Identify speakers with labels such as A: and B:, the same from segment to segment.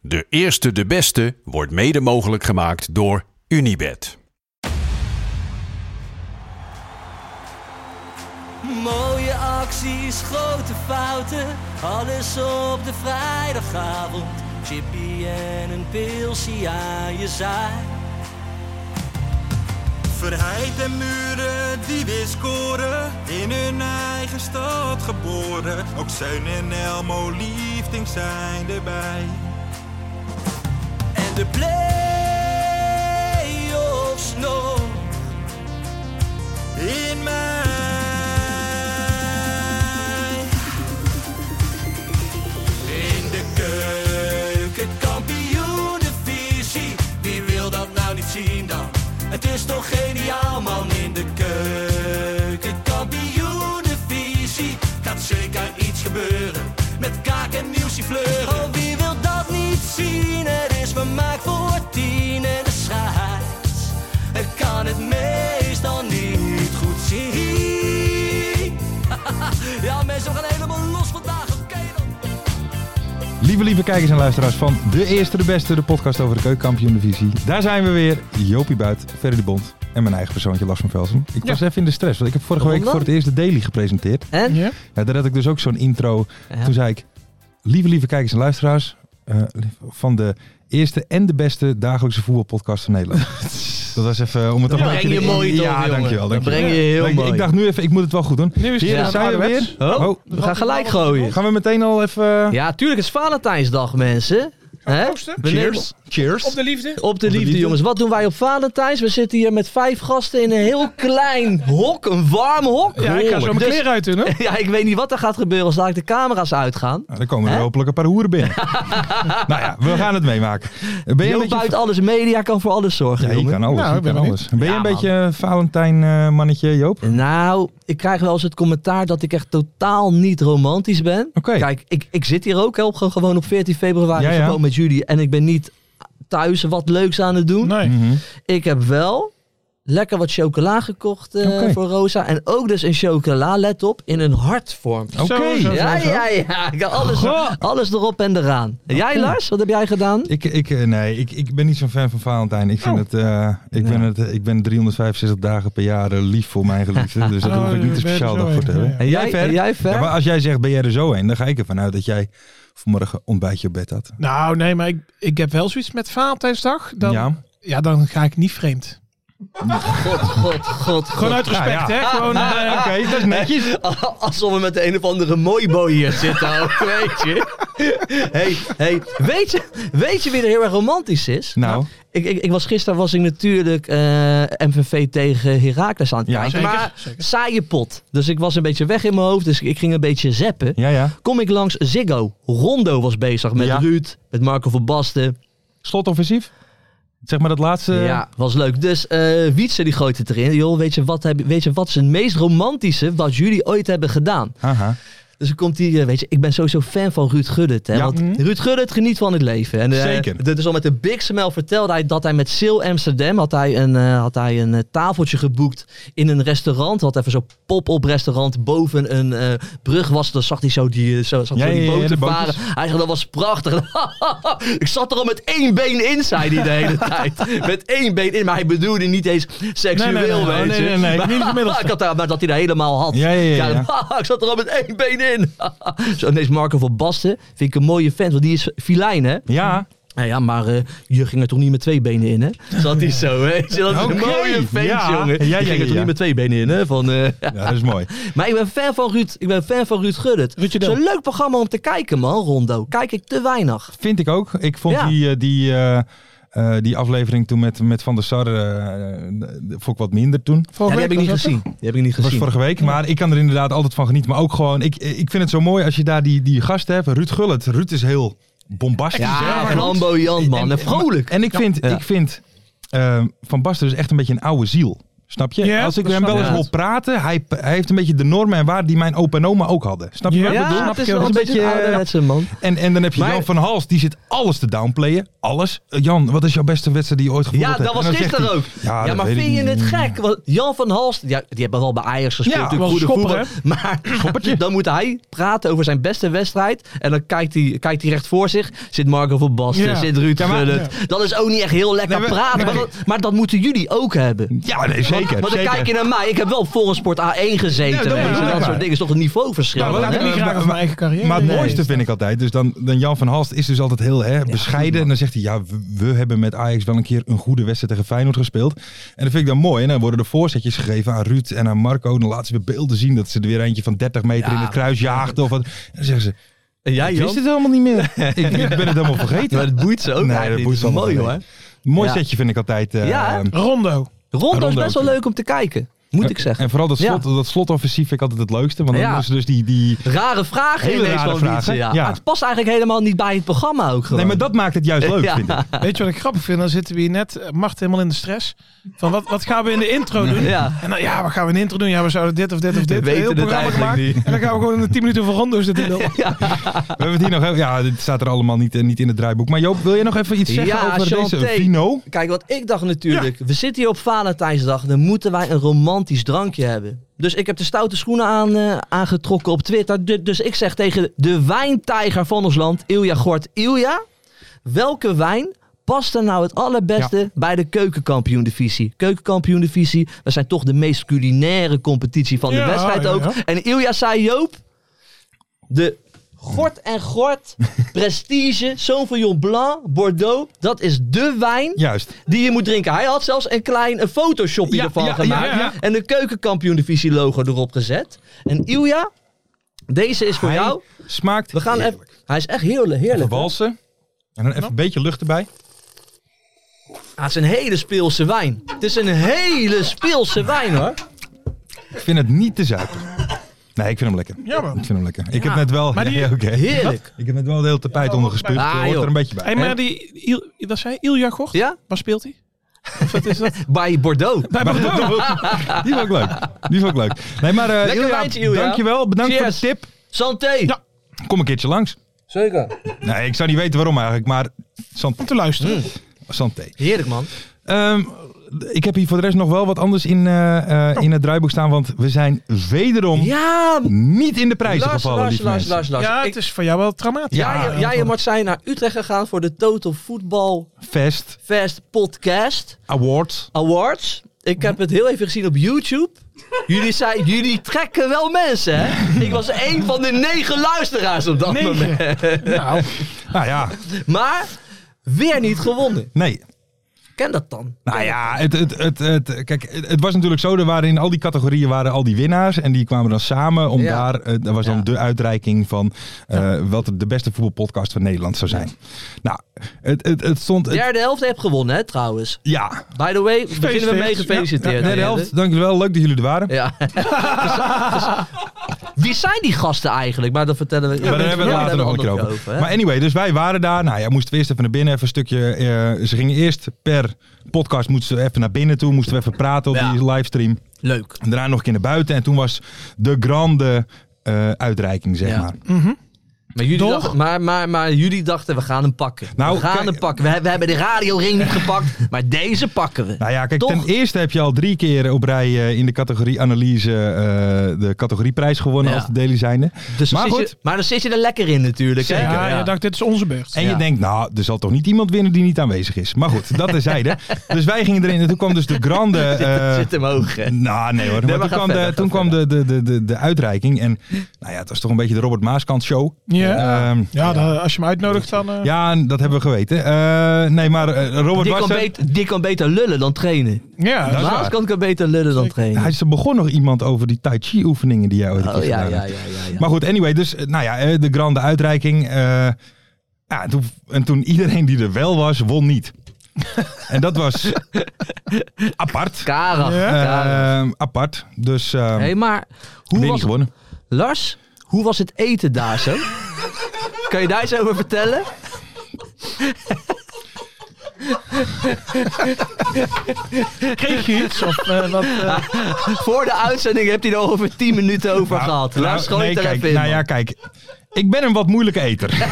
A: De eerste, de beste wordt mede mogelijk gemaakt door Unibed.
B: Mooie acties, grote fouten, alles op de vrijdagavond. Chippy en een pilsie aan je zaai.
C: Verheid en muren die weer scoren, in hun eigen stad geboren. Ook Zijn en Elmo liefding zijn erbij.
B: En de play-offs nog.
C: In mij.
B: In de keuken, kampioenenvisie. Wie wil dat nou niet zien dan? Het is toch geniaal man in de keuken, kampioenenvisie. Gaat zeker iets gebeuren met kaak en nieuwsie fleuren. Oh, wie wil dat niet zien? Het is vermaakt voor tien en de scheids. Ik kan het meestal niet goed zien. ja mensen, we gaan helemaal los vandaag, oké dan.
D: Lieve, lieve kijkers en luisteraars van De Eerste de Beste, de podcast over de keukenkampioen-divisie. Daar zijn we weer. Joopie Buit, Ferry de Bond en mijn eigen persoontje Lars van Velsen. Ik was even in de stress, want ik heb vorige week voor het eerst de Daily gepresenteerd.
E: En?
D: Ja, daar had ik dus ook zo'n intro. Toen zei ik, lieve, lieve kijkers en luisteraars eh, van de eerste en de beste dagelijkse voetbalpodcast van Nederland. Dat was even eh, om het toch
E: Dat
D: een
E: breng
D: beetje
E: je
D: in-
E: mooi door,
D: Ja,
E: jongen.
D: dankjewel.
E: Dat
D: dankjewel.
E: breng je heel
D: Dank
E: mooi.
D: Ik dacht nu even, ik moet het wel goed doen.
F: Nu is het
D: Heren,
F: ja,
D: zijn we
F: ouderwets.
D: weer?
E: Oh,
D: Oh,
E: we gaan gelijk gooien.
D: gaan we meteen al even... eh,
E: Ja, tuurlijk is Valentijnsdag, mensen. Hè?
F: proosten.
E: We nemen-
D: Cheers.
F: Op de liefde.
E: Op de liefde,
D: liefde.
E: jongens. Wat doen wij op Valentijns? We zitten hier met vijf gasten in een heel klein hok. Een warm hok.
F: Ja, ik ga zo mijn
E: Dus-
F: kleren uit doen, hè?
E: Ja, ik weet niet wat er gaat gebeuren als daar de camera's uitgaan.
D: Nou, dan komen er hopelijk een paar hoeren binnen. nou ja, we gaan het meemaken. Ben je
E: Jo
D: een beetje...
E: buiten alles media kan voor alles zorgen,
D: Ja, je
E: jongen.
D: kan alles.
F: Nou,
D: je
F: ik ben
D: kan
F: benieuwd.
D: alles. Ben je
E: Ja,
D: een
E: man.
D: beetje eh, Valentijn eh, mannetje, Joop? Oké.
E: Nou, ik krijg wel eens het commentaar dat ik echt totaal niet romantisch ben. Kijk, ik, ik zit hier ook hè, op, gewoon op 14 februari
D: Ja, ja.
E: gewoon met jullie. En ik ben niet thuis wat leuks aan het doen.
F: Nee.
D: Mhm.
E: Ik heb wel lekker wat chocola gekocht eh,
D: Oké.
E: voor Rosa. En ook dus een chocola, let op, in een hartvorm.
D: Oké.
F: Zo, zo, zo.
E: Ja, ja, ja. Ik heb Alles,
F: Goh.
E: alles erop en eraan. En Jij, Lars, wat heb jij gedaan?
D: Ik, ik, eh, nee, ik, ik ben niet zo'n fan van Valentijn. Ik, vind
F: Oh.
D: het, eh, ik, ben het, eh, ik ben 365 dagen per jaar eh, lief voor mijn geliefde. Dus daar
F: Oh,
D: hoef ik
F: je
D: niet een
F: bent
D: speciaal
F: zo
D: dag voor te
F: een,
D: hebben.
F: ja.
E: En jij,
D: Fer?
E: en jij ver?
D: Ja, maar als jij zegt, ben jij er zo heen? Dan ga ik ervan uit dat jij vanmorgen ontbijtje op bed had.
F: Nou, nee, maar ik, ik heb wel zoiets met Valentijnsdag. Dan, ja.
D: Ja.
F: dan ga ik niet vreemd.
E: God, god, god. Eh,
F: Gewoon uit respect,
D: Ja, ja.
F: hè? Gewoon, eh,
D: Oké, dat is netjes.
E: Alsof we met de een of andere mooiboy hier zitten ook, weet je. Hey, hey, weet je. Weet je wie er heel erg romantisch is?
D: Nou,
E: Ik, ik, ik was gisteren was ik natuurlijk eh, MVV tegen Heracles aan het
D: Ja,
E: kijken.
F: zeker,
E: maar
F: zeker.
E: saaie pot. Dus ik was een beetje weg in mijn hoofd. Dus ik ging een beetje zeppen.
D: ja, ja.
E: Kom ik langs Ziggo. Rondo was bezig met
D: Ja.
E: Ruud, met Marco van Basten.
D: Slotoffensief? Zeg maar dat laatste.
E: Ja, was leuk. Dus eh Wietse die gooit het erin. Joh, weet je, wat heb, weet je wat is het meest romantische wat jullie ooit hebben gedaan?
D: Aha.
E: Dus dan komt hij, eh, weet je, ik ben sowieso fan van Ruud Gullit. Hè,
D: Ja.
E: Want Ruud Gullit geniet van het leven. En, eh,
D: Zeker.
E: d- Dus al met de Big Smell vertelde hij dat hij met Sail Amsterdam had hij een, eh, had hij een eh, tafeltje geboekt in een restaurant. Had even zo'n pop-up restaurant boven een eh, brug was. Dan zag hij zo die, eh, zo, zag
D: Ja,
E: zo die
D: ja, ja,
E: boten
D: de
E: varen.
D: bootjes.
E: Hij zei, dat was prachtig. ik zat er al met één been in, zei hij de hele tijd. Met één been in. Maar hij bedoelde niet eens seksueel,
F: Nee, nee, nee,
E: weet
F: nee,
E: je.
F: nee, nee, nee,
E: Maar-
F: niet gemiddeld.
E: ik had daar, maar dat hij dat helemaal had.
D: Ja, ja, ja, ja.
E: ik zat er al met één been in. Zo, nee, is Marco van Basten vind ik een mooie vent, want die is filijn, hè?
D: Ja.
E: Nou ja, maar eh, je ging er toch niet met twee benen in, hè? Zat hij zo, hè? Dat is een
D: Oké,
E: mooie vent,
D: ja.
E: jongen.
D: Ja, ja,
E: je ging er
D: ja,
E: toch
D: ja.
E: niet met twee benen in, hè? Van, eh,
D: ja, dat is mooi.
E: Maar ik ben fan van Ruud, ik ben fan van Ruud Gullit.
F: Ruudje
E: Zo'n
F: Del.
E: leuk programma om te kijken, man, Rondo. Kijk ik te weinig.
D: Vind ik ook. Ik vond
E: Ja.
D: die, eh, die, eh, eh, die aflevering toen met, met Van der Sar, eh, eh, vond ik wat minder toen.
E: Ja,
F: vorige
E: die heb ik
F: week
E: niet
F: was dat
E: gezien. Die heb ik niet
D: Dat was
E: gezien.
D: vorige week, maar ik kan er eh, inderdaad altijd van genieten. Maar ook gewoon, ik, ik vind het zo mooi als je daar die, die gast hebt, Ruud Gullit. Ruud is heel bombastisch. hè?
E: Ja,
D: Maar-
E: Flambo Jan, man. En vrolijk.
D: En ik vind,
E: Ja.
D: ik vind ehm, Van Basten dus echt een beetje een oude ziel. Snap je?
F: Ja,
D: Als ik
F: dat
D: hem
F: snap
D: wel eens
E: ik.
D: hoor praten, hij, hij heeft een beetje de normen en waarden die mijn opa en oma ook hadden. Snap je?
F: Ja,
D: wat ik bedoel?
E: Ja, het is wel een
D: Dat
E: beetje een ouderwetse, man.
D: En, en dan heb je
E: Maar-
D: Jan van Hals, die zit alles te downplayen. Alles. Eh, Jan, wat is jouw beste wedstrijd die je ooit gevoeld
E: Ja,
D: hebt?
E: dat was
D: En dan zegt
E: gisteren
D: hij,
E: ook. Ja,
D: dat
E: maar
D: weet ik
E: vind je
D: niet.
E: het gek? Want Jan van Halst, ja, die hebben wel bij Ajax gespeeld.
D: Ja,
E: natuurlijk
F: was
E: goede
F: een schopper,
E: voetbal. Maar dan moet hij praten over zijn beste wedstrijd. En dan kijkt hij, kijkt hij recht voor zich. Zit Marco van Basten,
F: Ja.
E: zit Ruud
D: Ja, maar-
E: Gullit. Dat is ook niet echt heel lekker
D: Nee, maar-
E: praten.
D: nee.
E: Maar, dat, maar dat moeten jullie ook hebben.
D: Ja, nee, zeker.
E: Want dan
D: zeker.
E: kijk je naar mij. Ik heb wel volgens Sport A1 gezeten.
D: Ja, dat
E: weet je,
D: is
E: dat
D: ook waar.
E: soort dingen is toch een niveauverschil.
D: Ja,
F: Nou, we
D: maar
E: hè?
F: laten niet
D: eh,
F: graag
D: maar-
F: over mijn eigen carrière.
D: Maar het
F: Nee.
D: mooiste vind ik altijd, dus dan, dan Jan van Halst is dus altijd heel hè, bescheiden. En dan zegt hij, ja, we, we hebben met Ajax wel een keer een goede wedstrijd tegen Feyenoord gespeeld. En dat vind ik dan mooi. En dan worden er voorzetjes gegeven aan Ruud en aan Marco. Dan laten ze weer beelden zien dat ze er weer eentje van 30 meter
E: Ja.
D: in het kruis jaagden. Of wat. En dan zeggen ze,
E: En jij,
D: ik wist
E: Jan?
D: het helemaal niet meer. ik, ik ben het helemaal vergeten.
E: Maar dat boeit ze ook
D: Nee, dat
E: eigenlijk
D: boeit ze
E: niet.
D: allemaal
E: Mooi hoor.
D: niet. Mooi
E: Ja.
D: setje vind ik altijd. eh,
E: Ja, hè?
F: Rondo.
E: Rondo is
D: Rondo
E: best wel
D: ook.
E: leuk om te kijken. Moet ik zeggen.
D: En vooral dat, slot,
E: Ja.
D: dat slotoffensief vind ik altijd het leukste. Want dan
E: Ja.
D: doen ze dus die... die
E: Rare vragen
D: Hele
E: ineens
D: rare
E: van
D: vragen,
E: Wietse, ja.
D: ja.
E: Ah, Het past eigenlijk helemaal niet bij het programma ook gewoon.
D: nee, maar dat maakt het juist leuk,
E: Ja.
D: vind ik.
F: Weet je wat ik grappig vind? Dan zitten we hier net, eh, Mart helemaal in de stress. Van wat, wat gaan we in de intro doen?
E: Ja.
F: En dan, ja, wat gaan we in de intro doen? Ja, we zouden dit of dit of dit. eh,
E: weten het eigenlijk niet.
F: En dan gaan we gewoon in de 10 minuten voor Rondo zitten lullen.
D: We hebben het hier nog even. Ja, dit staat er allemaal niet, eh, niet in het draaiboek. Maar Joop, wil je nog even iets zeggen
E: Ja,
D: over
E: Chanté.
D: deze Vino?
E: Kijk, wat ik dacht natuurlijk. We zitten hier op Valentijnsdag. Dan moeten wij een romantisch drankje hebben. Dus ik heb de stoute schoenen aan, eh, aangetrokken op Twitter. Du- dus ik zeg tegen de wijntijger van ons land, Ilja Gort. Ilja, welke wijn past er nou het allerbeste bij de keukenkampioen-divisie? Keukenkampioen-divisie, dat zijn toch de meest culinaire competitie van de
F: Ja,
E: wedstrijd
F: ja,
E: ook.
F: ja.
E: En Ilja zei, Joop, de Gort en Gort, Prestige, Sauvignon Blanc, Bordeaux, dat is de wijn
D: Juist.
E: die je moet drinken. Hij had zelfs een klein een photoshopje
D: Ja,
E: ervan
D: ja,
E: gemaakt.
D: ja, ja.
E: En de keukenkampioen-divisie logo erop gezet. En Ilja, deze is voor
D: Hij
E: jou.
D: Smaakt.
E: We gaan even, hij is echt heerlijk. heerlijk.
D: even walsen. En dan even een beetje lucht erbij.
E: Ah, het is een hele speelse wijn. Het is een hele speelse wijn hoor.
D: Ik vind het niet te zuipen. Nee, ik vind hem lekker.
F: Ja, man.
D: Ik vind hem lekker. Ik heb net wel.
F: maar die-
D: Ja, oké.
E: Heerlijk.
D: Ik heb net wel het hele tapijt ondergespuugd.
E: Ah,
D: Dat hoort
E: joh.
D: er een beetje bij.
F: Hey, maar die, Il, dat zei Ilja Gort?
E: Ja?
F: Waar speelt hij? Of wat is dat?
E: Bij Bordeaux.
D: Maar goed, die vond ik leuk. Die vond ik leuk. Nee, maar eh
E: Lekker
D: Ilja,
E: wijntje, Ilja.
D: dankjewel. Bedankt
E: Cheers.
D: voor de tip.
E: Santé.
F: Ja.
D: Kom een keertje langs.
E: Zeker.
D: Nee, ik zou niet weten waarom eigenlijk, maar sant-
F: Om te luisteren.
D: santé.
E: Heerlijk man.
D: Ehm, ik heb hier voor de rest nog wel wat anders in, eh, eh, in het draaiboek staan, want we zijn wederom
E: Ja.
D: niet in de prijzen
E: Lars,
D: gevallen,
E: Lars,
D: lieve
E: Lars,
D: mensen.
E: Lars, Lars.
F: Ja,
E: Ik-
F: het is voor jou wel traumatisch.
D: Ja,
E: jij, jij en Mart zijn naar Utrecht gegaan voor de Total Voetbal
D: Fest,
E: Fest Podcast.
D: awards.
E: Awards. Ik heb het heel even gezien op YouTube. Jullie, zei, jullie trekken wel mensen, hè? Ik was één van de negen luisteraars op dat moment.
F: Nou,
D: Nou ja,
E: Maar weer niet gewonnen.
D: nee.
E: Ken dat dan?
D: Nou ja, het, het, het, het- kijk, het, het was natuurlijk zo, er waren in al die categorieën waren al die winnaars. En die kwamen dan samen om
E: Ja.
D: daar, eh, dat was dan
E: Ja.
D: de uitreiking van eh, wat de beste voetbalpodcast van Nederland zou zijn. Nou, het, het, het stond... het-
E: Derde helft heb gewonnen, hè, trouwens.
D: ja,
E: By the way, beginnen we mee
F: feest.
E: gefeliciteerd.
D: derde helft, dus dankjewel, leuk dat jullie er waren.
E: Ja. Wie zijn die gasten eigenlijk? Maar dat vertellen we.
D: Ja, maar daar hebben we het later nog een keer over. maar
E: maar
D: anyway, dus wij waren daar. Nou ja, moesten we eerst even naar binnen. Even een stukje. eh, ze gingen eerst per podcast moesten ze even naar binnen toe. Moesten we even praten op
E: Ja.
D: die livestream.
E: Leuk.
D: En daarna nog een keer naar buiten. En toen was de grande eh, uitreiking, zeg
E: Ja.
D: maar.
E: Maar jullie,
F: Toch?
E: dachten, maar, maar, maar jullie dachten, we gaan hem pakken.
D: Nou,
E: we gaan
D: kijk-
E: hem pakken. We, we hebben de radioring niet gepakt, maar deze pakken we.
D: Nou ja, kijk,
E: Toch?
D: ten eerste heb je al drie keer op rij eh, in de categorie analyse eh, de categorieprijs gewonnen
E: Ja.
D: als de daily zijnde.
E: Dus
D: maar
E: maar,
D: goed.
E: Je, maar dan zit je er lekker in natuurlijk. hè?
F: ja, je dacht, dit is onze beurt.
D: En
E: Ja.
D: je denkt, nou, er zal toch niet iemand winnen die niet aanwezig is. Maar goed, dat terzijde. dus wij gingen erin en toen kwam dus de grande... eh,
E: zit hem hoog. hè?
D: Nou, nee hoor.
E: Nee, maar
D: maar toen
E: ga
D: kwam,
E: verder,
D: de,
E: ga
D: toen kwam de, de, de, de, de uitreiking. En nou ja, het was toch een beetje de Robert Maaskant show.
F: Ja,
D: Ehm,
F: ja dan- als je me uitnodigt, dan... eh,
D: ja, en dat hebben we geweten. Eh, nee, maar eh, Robert
E: Die, kan
D: was er.
E: beter, die kan beter lullen dan trainen.
F: ja,
D: dat is waar.
E: Maaskant kan beter lullen dan trainen.
D: Hij is er begon nog iemand over die Tai Chi oefeningen die jij ooit hebt
E: oh ja,
D: gedaan.
E: ja, ja.
D: hebt.
E: ja, ja.
D: Maar goed, anyway. Dus eh, nou ja, eh, de grande uitreiking. eh, ja, en, toen, en toen iedereen die er wel was, won niet. en dat was apart.
E: Karag.
F: Ja.
E: Karag.
D: Ehm, apart. Dus ehm,
E: Hey, maar hoe
D: weer niet
E: was het,
D: gewonnen.
E: Lars, hoe was het eten daar zo? kan je daar iets over vertellen?
F: Kreeg je iets? Of, eh, wat, eh,
E: Voor de uitzending hebt hij er over 10 minuten over
D: Nou,
E: gehad.
D: nou,
E: Daar schoot
D: nee,
E: ik er
D: kijk,
E: even in.
D: Nou ja, kijk. Ik ben een wat moeilijke eter.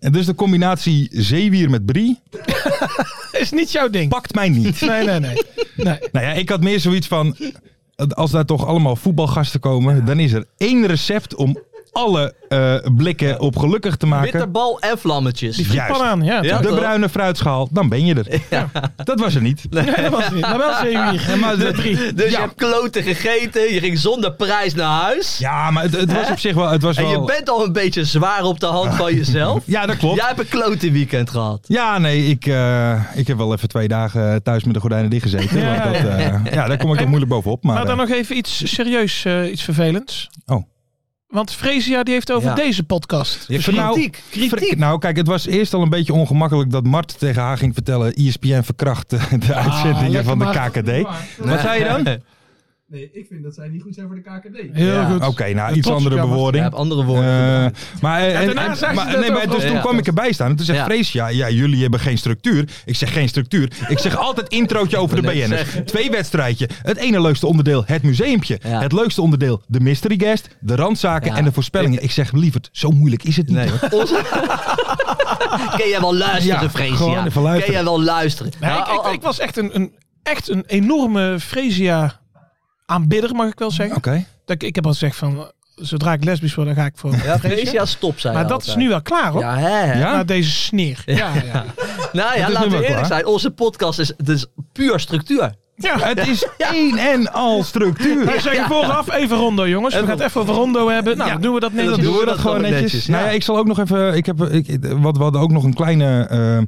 D: En dus de combinatie zeewier met brie
F: is niet jouw ding.
D: pakt mij niet.
F: Nee, nee, nee. nee.
D: Nou ja, ik had meer zoiets van... Als daar toch allemaal voetbalgasten komen... dan is er één recept om alle eh, blikken op gelukkig te
E: man.
D: maken.
E: Bitterbal en vlammetjes.
F: Die
D: Juist.
F: frietpan aan, ja.
E: Ja.
F: toch?
D: De bruine fruitschaal, dan ben je er. Dat was er niet.
F: Nee, dat was het niet. Maar wel zeewier. En maar de drie.
E: Dus
D: Ja.
E: je hebt kloten gegeten, je ging zonder prijs naar huis.
D: Ja, maar het, het was op zich wel... Het was
E: En je
D: wel
E: bent al een beetje zwaar op de hand van jezelf.
D: ja, dat klopt.
E: Jij hebt een klote weekend gehad.
D: Ja, nee, ik, eh, ik heb wel even twee dagen thuis met de gordijnen dichtgezeten.
F: Ja,
D: want dat, eh, ja, daar kom ik dan moeilijk bovenop. Maar,
F: Maar dan
D: eh,
F: nog even iets serieus, eh, iets vervelends.
D: Oh.
F: Want Fresia die heeft over
E: Ja.
F: deze podcast.
E: Je
D: Vrouw-
E: kritiek.
D: Frik-
E: kritiek.
D: nou, kijk, het was eerst al een beetje ongemakkelijk dat Mart tegen haar ging vertellen... E ESPN verkracht de, de uitzendingen
F: lekker
D: van de
F: Mart.
D: KKD. Wat zei je dan?
G: Nee, ik vind dat zij niet goed zijn voor de KKD.
F: Heel
E: Ja.
F: goed.
D: Oké, nou,
F: Een
D: iets andere
F: topscammer.
E: Je
D: bewoording.
E: hebt andere woorden.
D: Eh, maar, eh, en-
F: daarna
D: en-
F: zei ze
D: maar-
F: dat
D: nee, maar
F: ook
D: dus
E: al.
D: toen
E: Ja,
D: kwam ik erbij staan. En toen zegt
E: Ja.
D: Frees, ja, ja, jullie hebben geen structuur. Ik zeg geen structuur. Ik zeg altijd introotje over de
E: Ik wou net
D: BN'ers. Twee wedstrijdje. Het ene leukste onderdeel, het museumpje.
E: Ja.
D: Het leukste onderdeel, de mystery guest. De randzaken
E: Ja.
D: en de voorspellingen. Ik zeg, lieverd, zo moeilijk is het niet. hoor.
E: Onze... Kun jij wel luisteren,
D: Ja, gewoon
E: Freesia?
D: even luisteren.
E: Kun jij wel luisteren?
F: Maar
E: Nou,
F: ik, ik,
E: al-
F: ik was echt een, een, echt een enorme Fresia aanbidder, mag ik wel zeggen.
D: Oké.
F: Dat ik, ik heb al gezegd van, zodra ik lesbisch word, dan ga ik voor
E: Ja,
F: Fresia.
E: Freesia, stop zijn.
F: Maar dat is nu wel klaar hoor.
E: Ja, hè, hè.
D: Ja?
F: Na deze sneer. Ja, ja.
E: Nou ja,
D: Dat is nu
E: laten
D: wel
E: we eerlijk
D: klaar.
E: zijn. Onze podcast is, het is puur structuur.
F: ja.
D: Het is één en al structuur.
F: Wij zeggen vooraf even rondo, jongens. We gaan het even over rondo hebben. Nou,
E: Ja.
F: dan doen we dat
E: dan
F: netjes.
D: Dan doen we
E: dat
D: dat gewoon
E: gewoon
D: netjes.
E: netjes,
D: Nou ja,
E: ja.
D: ik zal ook nog even. Ik heb, ik, wat, we hadden ook nog een kleine. eh,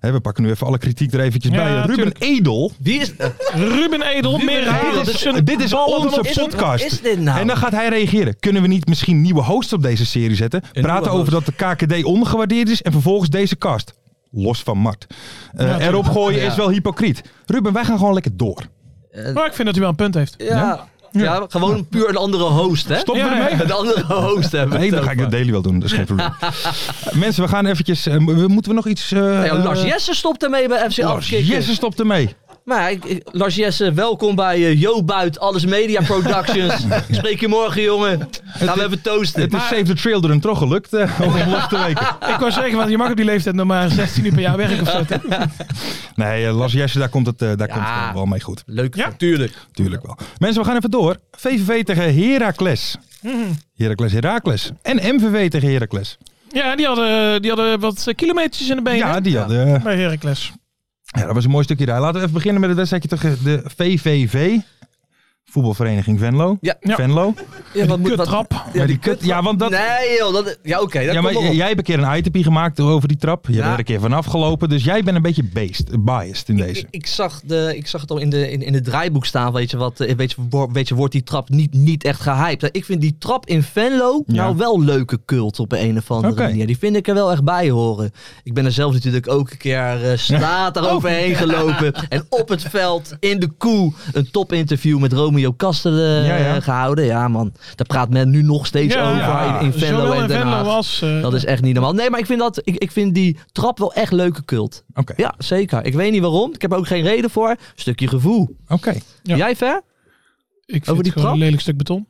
D: hè, we pakken nu even alle kritiek er eventjes
F: Ja,
D: bij. Ruben
F: tuurlijk.
D: Edel.
E: Wie is... eh,
F: Ruben Edel, meer
E: Edel,
F: halen.
E: dit is-
F: zijn
D: Dit is
F: ballen dan op-
D: onze
E: is het-
D: podcast.
E: is dit nou?
D: En dan gaat hij reageren. Kunnen we niet misschien nieuwe hosts op deze serie zetten? Praten
E: nieuwe
D: over dat de KKD ongewaardeerd is en vervolgens deze cast. Los van Mart. Eh, erop gooien
E: Ja.
D: is wel hypocriet. Ruben, wij gaan gewoon lekker door.
F: Maar ik vind dat hij wel een punt heeft.
E: ja. Ja. gewoon puur een andere host, hè?
D: Stop
F: Ja,
D: ermee.
E: Een andere host hebben. we
D: Nee,
E: het
D: dan ga ik de
E: over.
D: daily wel doen. Dat is geen probleem. Mensen, we gaan eventjes... eh, mo- moeten we nog iets... eh,
E: Nou ja, Lars
D: eh,
E: Jesse stopt ermee bij FC
D: Lars
E: Afkikken.
D: Jesse stopt ermee.
E: Maar ja, ik- ik- Lars Jesse, welkom bij eh, Jo Buit, Alles Media Productions. Spreek je morgen, jongen. Gaan we even toasten.
D: Het is
E: Maar-
D: Save the Trail er een toch gelukt eh, om los te weken.
F: Ik wou zeggen, want je mag op die leeftijd nog maar 16 uur per jaar werken of zo. toch?
D: Nee, eh, Lars Jesse, daar komt het, eh, daar
E: Ja.
D: komt het wel mee goed.
E: Leuk,
F: Ja.
E: natuurlijk.
D: Tuurlijk wel. Mensen, we gaan even door. VVV tegen Heracles.
E: Mhm.
D: Heracles, Heracles. En MVV tegen Heracles.
F: Ja, die hadden, die hadden wat kilometers in de benen.
D: Ja, die hadden... eh,
F: Bij Heracles.
D: ja, dat was een mooi stukje daar. Laten we even beginnen met het wedstrijdje tegen de VVV. Voetbalvereniging Venlo.
E: Ja.
F: Ja.
D: Venlo.
E: Ja, wat moet, wat,
F: Kuttrap.
D: Ja, die kut, ja want dat...
E: Nee, joh. Dat, ja, oké. dat
D: Ja, maar
E: komt wel
D: j-
E: op.
D: jij hebt een keer een itempie gemaakt over die trap. Je
E: Ja.
D: bent er een keer vanaf gelopen. Dus jij bent een beetje based, biased in deze.
E: Ik, ik zag de, ik zag het al in, de, in, in het draaiboek staan. Weet je, wat, eh, weet, je, wo- weet je, wordt die trap niet, niet echt gehyped. Ik vind die trap in Venlo
D: Ja.
E: nou wel leuke cult op een of andere
D: Oké.
E: manier. Die vind ik er wel echt bij horen. Ik ben er zelf natuurlijk ook een keer eh straat
F: Oh.
E: eroverheen gelopen. En op het veld, in de koe, een topinterview met Romeo Kastelen
D: Ja, ja.
E: eh, gehouden. Ja man, daar praat men nu nog steeds over
F: ja.
E: in, in Venlo
F: Zowel
E: en
F: in
E: Den
F: Venlo
E: Haag.
F: als... eh,
E: Dat is echt niet normaal. Nee, maar ik vind, dat, ik, ik vind die trap wel echt leuke cult.
D: Oké,
E: Ja, zeker. Ik weet niet waarom. Ik heb er ook geen reden voor. Stukje gevoel.
D: oké.
F: Ja.
E: Jij ver?
F: ik vind
E: over die
F: het gewoon
E: trap?
F: een lelijk stuk beton.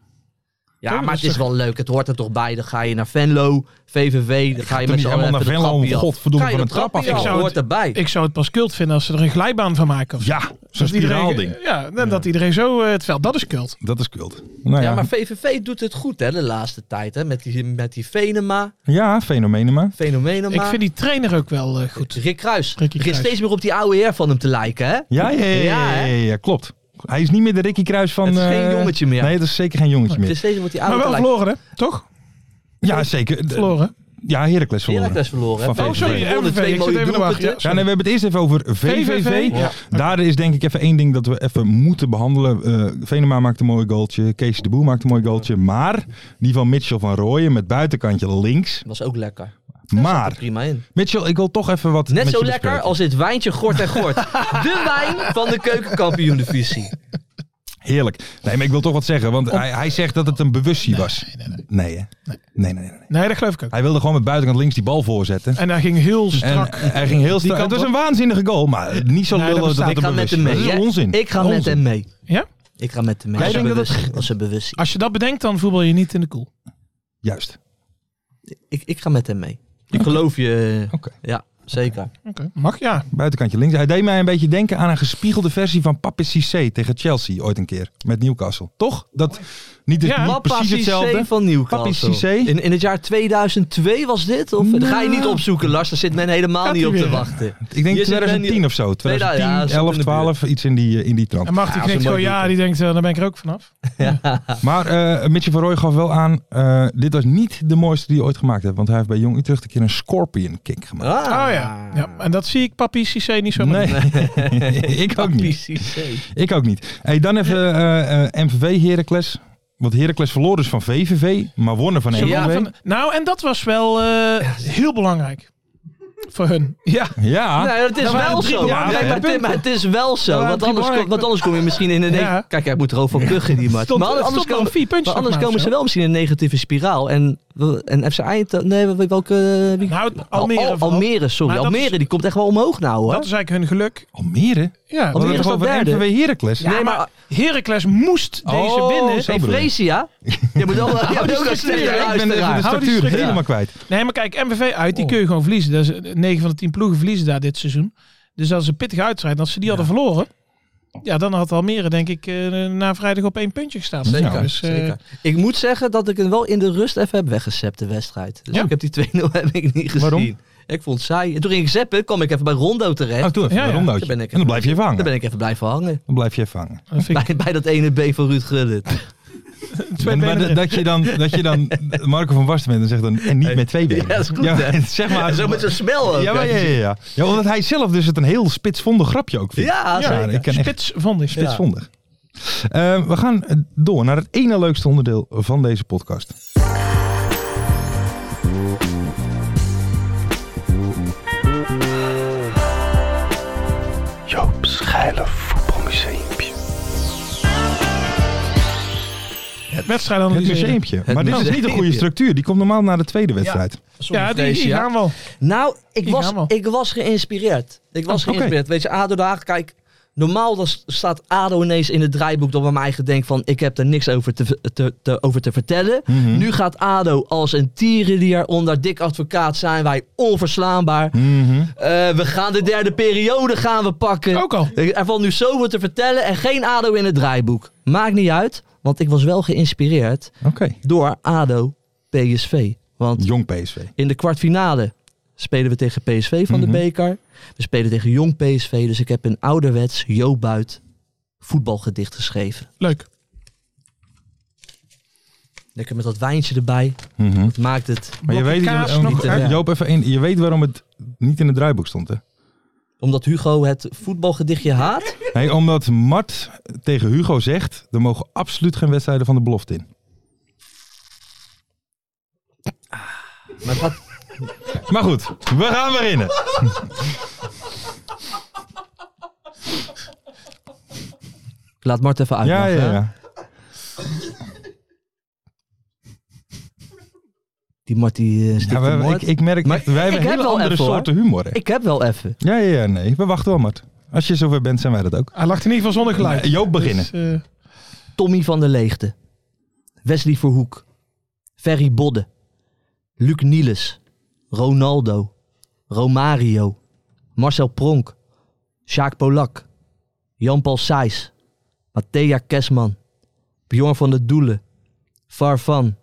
E: Ja, maar het is wel leuk. Het hoort er toch bij. Dan ga je naar Venlo, VVV. Dan ga je met
D: Toen niet
E: z'n allen
D: helemaal naar
E: even de
D: Venlo om
E: trappie af.
D: godverdomme
E: Ga je
D: van een
E: de
D: trap af.
E: trappie
F: Ik
E: af.
F: zou
E: hoort
F: het-
E: erbij.
F: Ik zou het pas kult vinden als ze er een glijbaan van maken. Of zo.
D: Ja,
E: dus
D: zo'n
F: Dat iedereen-
D: spiraalding.
F: Ja, en dat iedereen zo eh, het veld. Dat is kult.
D: Dat is kult. Nou ja,
E: ja, maar VVV doet het goed hè, de laatste tijd. Hè, met, die, met die Venema,
D: ja fenomenen maar.
E: Fenomenema.
F: Ik vind die trainer ook wel eh, goed.
E: Rick Kruis.
F: Ricky
E: begint
F: Kruis.
E: steeds meer op die oude heer van hem te lijken. Hè?
D: Ja, ja, ja,
E: Ja,
D: ja, ja,
E: hè?
D: ja, ja, klopt. Hij is niet meer de Ricky Kruis van...
E: Het is geen
D: eh,
E: jongetje meer.
D: Nee, dat is zeker geen jongetje
E: Het is
D: meer.
E: steeds meer op die
F: Maar
E: oude
F: wel
E: te lijken.
F: verloren, hè? Toch?
D: Ja, zeker. De-
F: Verloren.
D: Ja, Heracles verloren.
E: Heracles verloren.
D: Van
E: hè.
D: Oh, sorry,
E: Wonnen
F: MVV.
E: twee
F: Ik zit
E: mooie
F: even te wachten,
E: doelpunten.
F: ja.
D: Ja, nee, we hebben het eerst even over VVV.
F: VVV, ja.
D: Daar is denk ik even één ding dat we even moeten behandelen. Eh Venema maakt een mooi goaltje. Kees de Boer maakt een mooi goaltje. Maar die van Mitchell van Rooyen met buitenkantje links.
E: Was ook lekker.
D: Maar,
E: Prima in.
D: Mitchell, ik wil toch even wat
E: Net
D: met
E: zo
D: je
E: lekker
D: bespreken.
E: als dit wijntje Gort en Gort. De wijn van de keukenkampioen-divisie.
D: Heerlijk. Nee, maar ik wil toch wat zeggen, want
F: Om-
D: hij, hij zegt dat het een bewustie was.
F: Nee, nee, nee.
D: Nee, hè? Nee, nee, nee. nee.
F: nee, dat geloof ik ook.
D: Hij wilde gewoon met buitenkant links die bal voorzetten.
F: En hij ging heel
D: En
F: strak.
D: hij ging heel
F: Die
D: snel. Het
F: kant
D: was
F: op.
D: een waanzinnige goal, maar niet zo
F: Nee, dat
D: lullig dat
F: bestaat.
D: het
F: Ik
D: een
E: ga met
D: bewustie
E: hem mee.
D: was. Dat
E: Jij-
D: is onzin.
E: Ik ga met
D: Onzin.
E: hem mee.
F: Ja?
E: Ik ga met hem mee.
D: Jij
E: Als een
D: denkt dat
E: bewust- Als een bewustie.
F: Als je dat bedenkt, dan voetbal je niet in de koel.
D: Juist.
E: Ik, ik ga met hem mee. Ik geloof je. eh,
D: Oké.
E: Ja, zeker.
F: Oké, Mag ja.
D: Buitenkantje links. Hij deed mij een beetje denken aan een gespiegelde versie van Pape Cissé tegen Chelsea ooit een keer. Met Newcastle. Toch? Dat niet,
F: Ja.
D: niet
E: Papa
D: precies
E: Cissé
D: hetzelfde.
E: van
D: Papi
E: Newcastle.
D: Cissé.
E: In, in het jaar 2002 was dit? Of dat ga je niet opzoeken, Lars? Daar zit men helemaal
F: Gaat
E: niet
F: hij
E: op te
F: weer.
E: wachten.
D: Ik denk
E: Hier zit
D: 2010
E: men-
D: of zo. 2010,
E: ja, zat in de
D: 11,
E: buurt.
D: 12. Iets in die, eh, in die trant.
F: En mag die
E: als een
F: knikt gewoon
E: mooi
F: ja, die denkt, eh, dan ben ik er ook vanaf.
D: Maar eh Mitchell van Rooij gaf wel aan, eh, dit was niet de mooiste die hij ooit gemaakt heeft. Want hij heeft bij Jong Utrecht een keer een scorpion kick gemaakt.
E: Ah,
F: Oh ja. ja. En dat zie ik papi Cissé niet zo
D: nee,
F: maar.
D: ik ook
E: Papi
D: niet.
E: Cissé.
D: Ik ook niet. Hey, dan even eh, eh, MVV Heracles. Want Heracles verloor dus van VVV, maar wonnen van
F: Ze
D: MVV.
F: wonnen van- nou, en dat was wel eh, heel belangrijk. Voor hun.
D: Ja.
F: Ah,
D: ja.
E: Nee, het is
F: dat waren
E: wel
F: drie
E: zo.
F: belangrijke
E: Kijk, maar, Tim,
F: punten.
E: maar het is wel zo.
F: Dat waren
E: Want anders,
F: drie
E: kom,
F: belangrijke
E: want anders kom je misschien in een...
F: Ja.
E: Kijk, hij moet er ook van kuchen, die match.
F: Stond,
E: Maar anders,
F: stond
E: komen,
F: nog vier puntjes
E: maar anders
F: nog maar
E: komen ze
F: of
E: wel misschien in een negatieve spiraal. En, we- en FC Eindhoven... Nee, we- welke... eh,
F: zo.
E: Wie?
F: Nou, Almere.
E: Al-
F: vooral.
E: Almere, sorry.
F: Maar dat
E: Almere,
F: is-
E: die komt echt wel omhoog nou, hoor.
F: Dat is eigenlijk hun geluk.
D: Almere?
F: Ja,
D: We
E: Almere
D: hadden het
E: staat
D: over
E: derde.
D: MVV Heracles.
F: ja, maar Heracles moest deze
D: Oh,
F: winnen.
D: zo. bedoel je.
E: Efresia? Je moet
F: Oh,
E: wel je moet ook een
F: structuur.
E: slechte
F: Ik ben
D: ik
E: luisteraar.
D: ben de, de
F: Hou die
D: structuur
F: structuur.
D: helemaal kwijt.
F: Nee, maar kijk, MVV uit, die
E: Oh.
F: kun je gewoon verliezen. Dat is, 9 van de 10 ploegen verliezen daar dit seizoen. Dus dat is een pittige uitstrijd. Als ze die hadden verloren, ja, dan had Almere denk ik eh, na vrijdag op één puntje gestaan.
E: Zeker,
F: Nou, dus, eh,
E: zeker. Ik moet zeggen dat ik hem wel in de rust even heb weggezept, de wedstrijd. Dus
F: Ja.
E: ik heb die 2-0 heb ik niet gezien.
D: Waarom?
E: Ik vond het saai. En toen ging ik zeppen, kwam ik even bij Rondo terecht.
D: Oh, toen even
F: Ja,
D: een
F: ja.
D: rondootje.
E: Daar ben ik
D: En dan blijf je even hangen.
E: Daar ben ik even blijven hangen.
D: Dan blijf je even hangen.
F: dat vind ik
E: Bij, bij dat ene been van Ruud Gullit.
F: twee
D: En- maar
F: benen
D: dat-
F: erin.
D: dat, je dan, dat je dan Marco van Basten bent en zegt dan, en niet met twee benen.
E: Ja, dat is goed, hè?
D: zeg maar.
E: En Ah, zo met zo'n smel ook.
D: ja, maar,
E: hè.
D: ja, ja, ja. ja, omdat hij zelf dus het een heel spitsvondig grapje ook vindt.
E: Ja,
D: Ja,
E: zeker.
D: ik ken echt
F: Spits vond ik. Spits vond
D: spitsvondig. Eh, we gaan door naar het ene leukste onderdeel van deze podcast.
F: ik. Wedstrijd
D: Het
F: analyseren.
D: museumpje. Maar dit is
E: museumpje.
D: niet een goede structuur. Die komt normaal na de tweede wedstrijd.
E: Sorry,
F: Ja, die, die
E: Fresia.
F: gaan wel.
E: Nou, ik
F: Die
E: was,
F: gaan wel.
E: ik was geïnspireerd. Ik was
D: oké.
E: geïnspireerd. Weet je, ADO Den Haag, kijk, normaal dan s- staat ADO ineens in het draaiboek dat bij mij gedenkt van ik heb er niks over te, v- te, te- over te vertellen.
D: Mhm.
E: Nu gaat ADO als een tierenlier onder dik advocaat zijn wij onverslaanbaar.
D: Mhm.
E: Eh, we gaan de derde periode gaan we pakken.
F: Ook al.
E: Er valt nu zoveel te vertellen en geen ADO in het draaiboek. Maakt niet uit, want ik was wel geïnspireerd
D: Oké.
E: door ADO PSV. Want
D: Jong PSV.
E: in de kwartfinale spelen we tegen PSV van
D: Mhm.
E: de beker. We spelen tegen jong PSV. Dus ik heb een ouderwets Jo Buit voetbalgedicht geschreven.
F: Leuk.
E: Lekker met dat wijntje erbij.
D: Mhm.
E: Dat maakt het.
D: Maar je
F: Blokje
D: weet,
F: kaas
D: eh,
F: nog
D: eh,
E: uit.
D: Joop, even één. je weet waarom het niet in het draaiboek stond, hè?
E: Omdat Hugo het voetbalgedichtje haat.
D: Nee, omdat Mart tegen Hugo zegt, er mogen absoluut geen wedstrijden van de belofte in.
E: Maar wat,
D: Maar goed, we gaan beginnen.
E: ik laat Mart even uit.
D: Ja, ja, ja.
E: Die Mart die eh,
D: ja
E: stikt de
D: we- ik,
E: moord.
D: ik merk,
E: Maar
D: echt, wij hebben
E: ik heb
D: hele
E: wel
D: andere
E: even, hoor.
D: soorten humor. hè.
E: Ik heb wel even.
D: Ja, ja, ja, nee. We wachten wel, Mart. Als je zover bent, zijn wij dat ook.
F: Hij lacht in ieder geval zonder geluid.
D: Nee, Joop beginnen.
F: Dus, eh,
E: Tommy van der Leegte. Wesley Verhoek. Ferry Bodde. Luc Nielis. Ronaldo. Romario. Marcel Pronk. Sjaak Polak. Jan-Paul Sijs. Matthea Kesman. Bjorn van der Doelen. Farvan.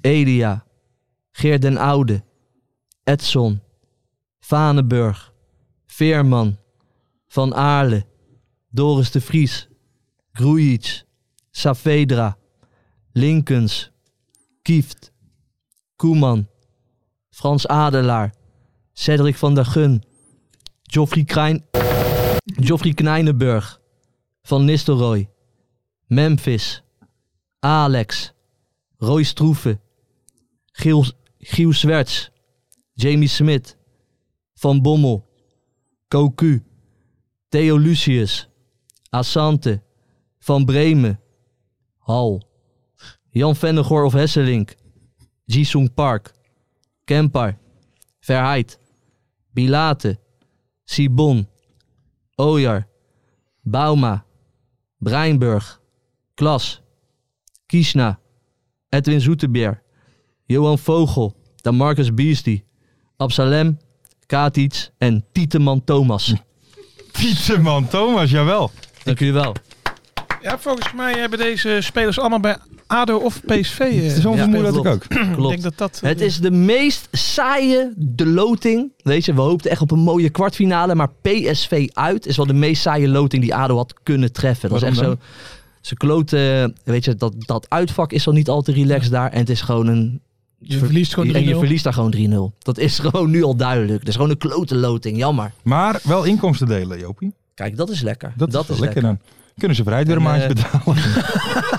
E: Elia. Geert den Oude. Edson. Vanenburg. Veerman. Van Aarle. Doris de Vries. Grujic, Saavedra, Linkens, Kieft, Koeman, Frans Adelaar, Cedric van der Gun, Joffrey, Krijn, Joffrey Knijnenburg, Van Nistelrooy, Memphis, Alex, Roy Stroeven, Giel, Giel Zwerts, Jamie Smit, Van Bommel, Koku, Theo Lucius, Assante, Van Bremen, Hal, Jan Vennegoor of Hesselink, Jisung Park, Kempar, Verheid, Bilate, Sibon, Ojar, Bauma, Breinburg, Klas, Kiesna, Edwin Zoetebeer, Johan Vogel, Damarcus Beastie, Absalem, Katic en Tieteman Thomas.
D: Fietsenman Thomas, jawel.
E: Dank jullie wel.
F: Ja, volgens mij hebben deze spelers allemaal bij ADO of PSV. eh,
D: Zo'n
E: ja,
D: vermoeden had ik ook.
E: klopt.
F: ik
E: Klopt.
F: denk dat dat... eh,
E: Het is de meest saaie de loting. Weet je, we hoopten echt op een mooie kwartfinale. Maar PSV uit is wel de meest saaie loting die ADO had kunnen treffen. Dat is echt
D: Waarom
E: zo. Ze kloten, weet je, dat, dat uitvak is al niet al te relaxed daar. En het is gewoon een...
F: je verliest gewoon 3-0.
E: en je verliest daar gewoon 3-0. Dat is gewoon nu al duidelijk. Dat is gewoon een klote loting, jammer.
D: Maar wel inkomsten delen, Jopie.
E: Kijk, dat is lekker.
D: Dat, is, wel lekker dan. Kunnen ze verheid weer een
E: En, eh,
D: maandje betalen.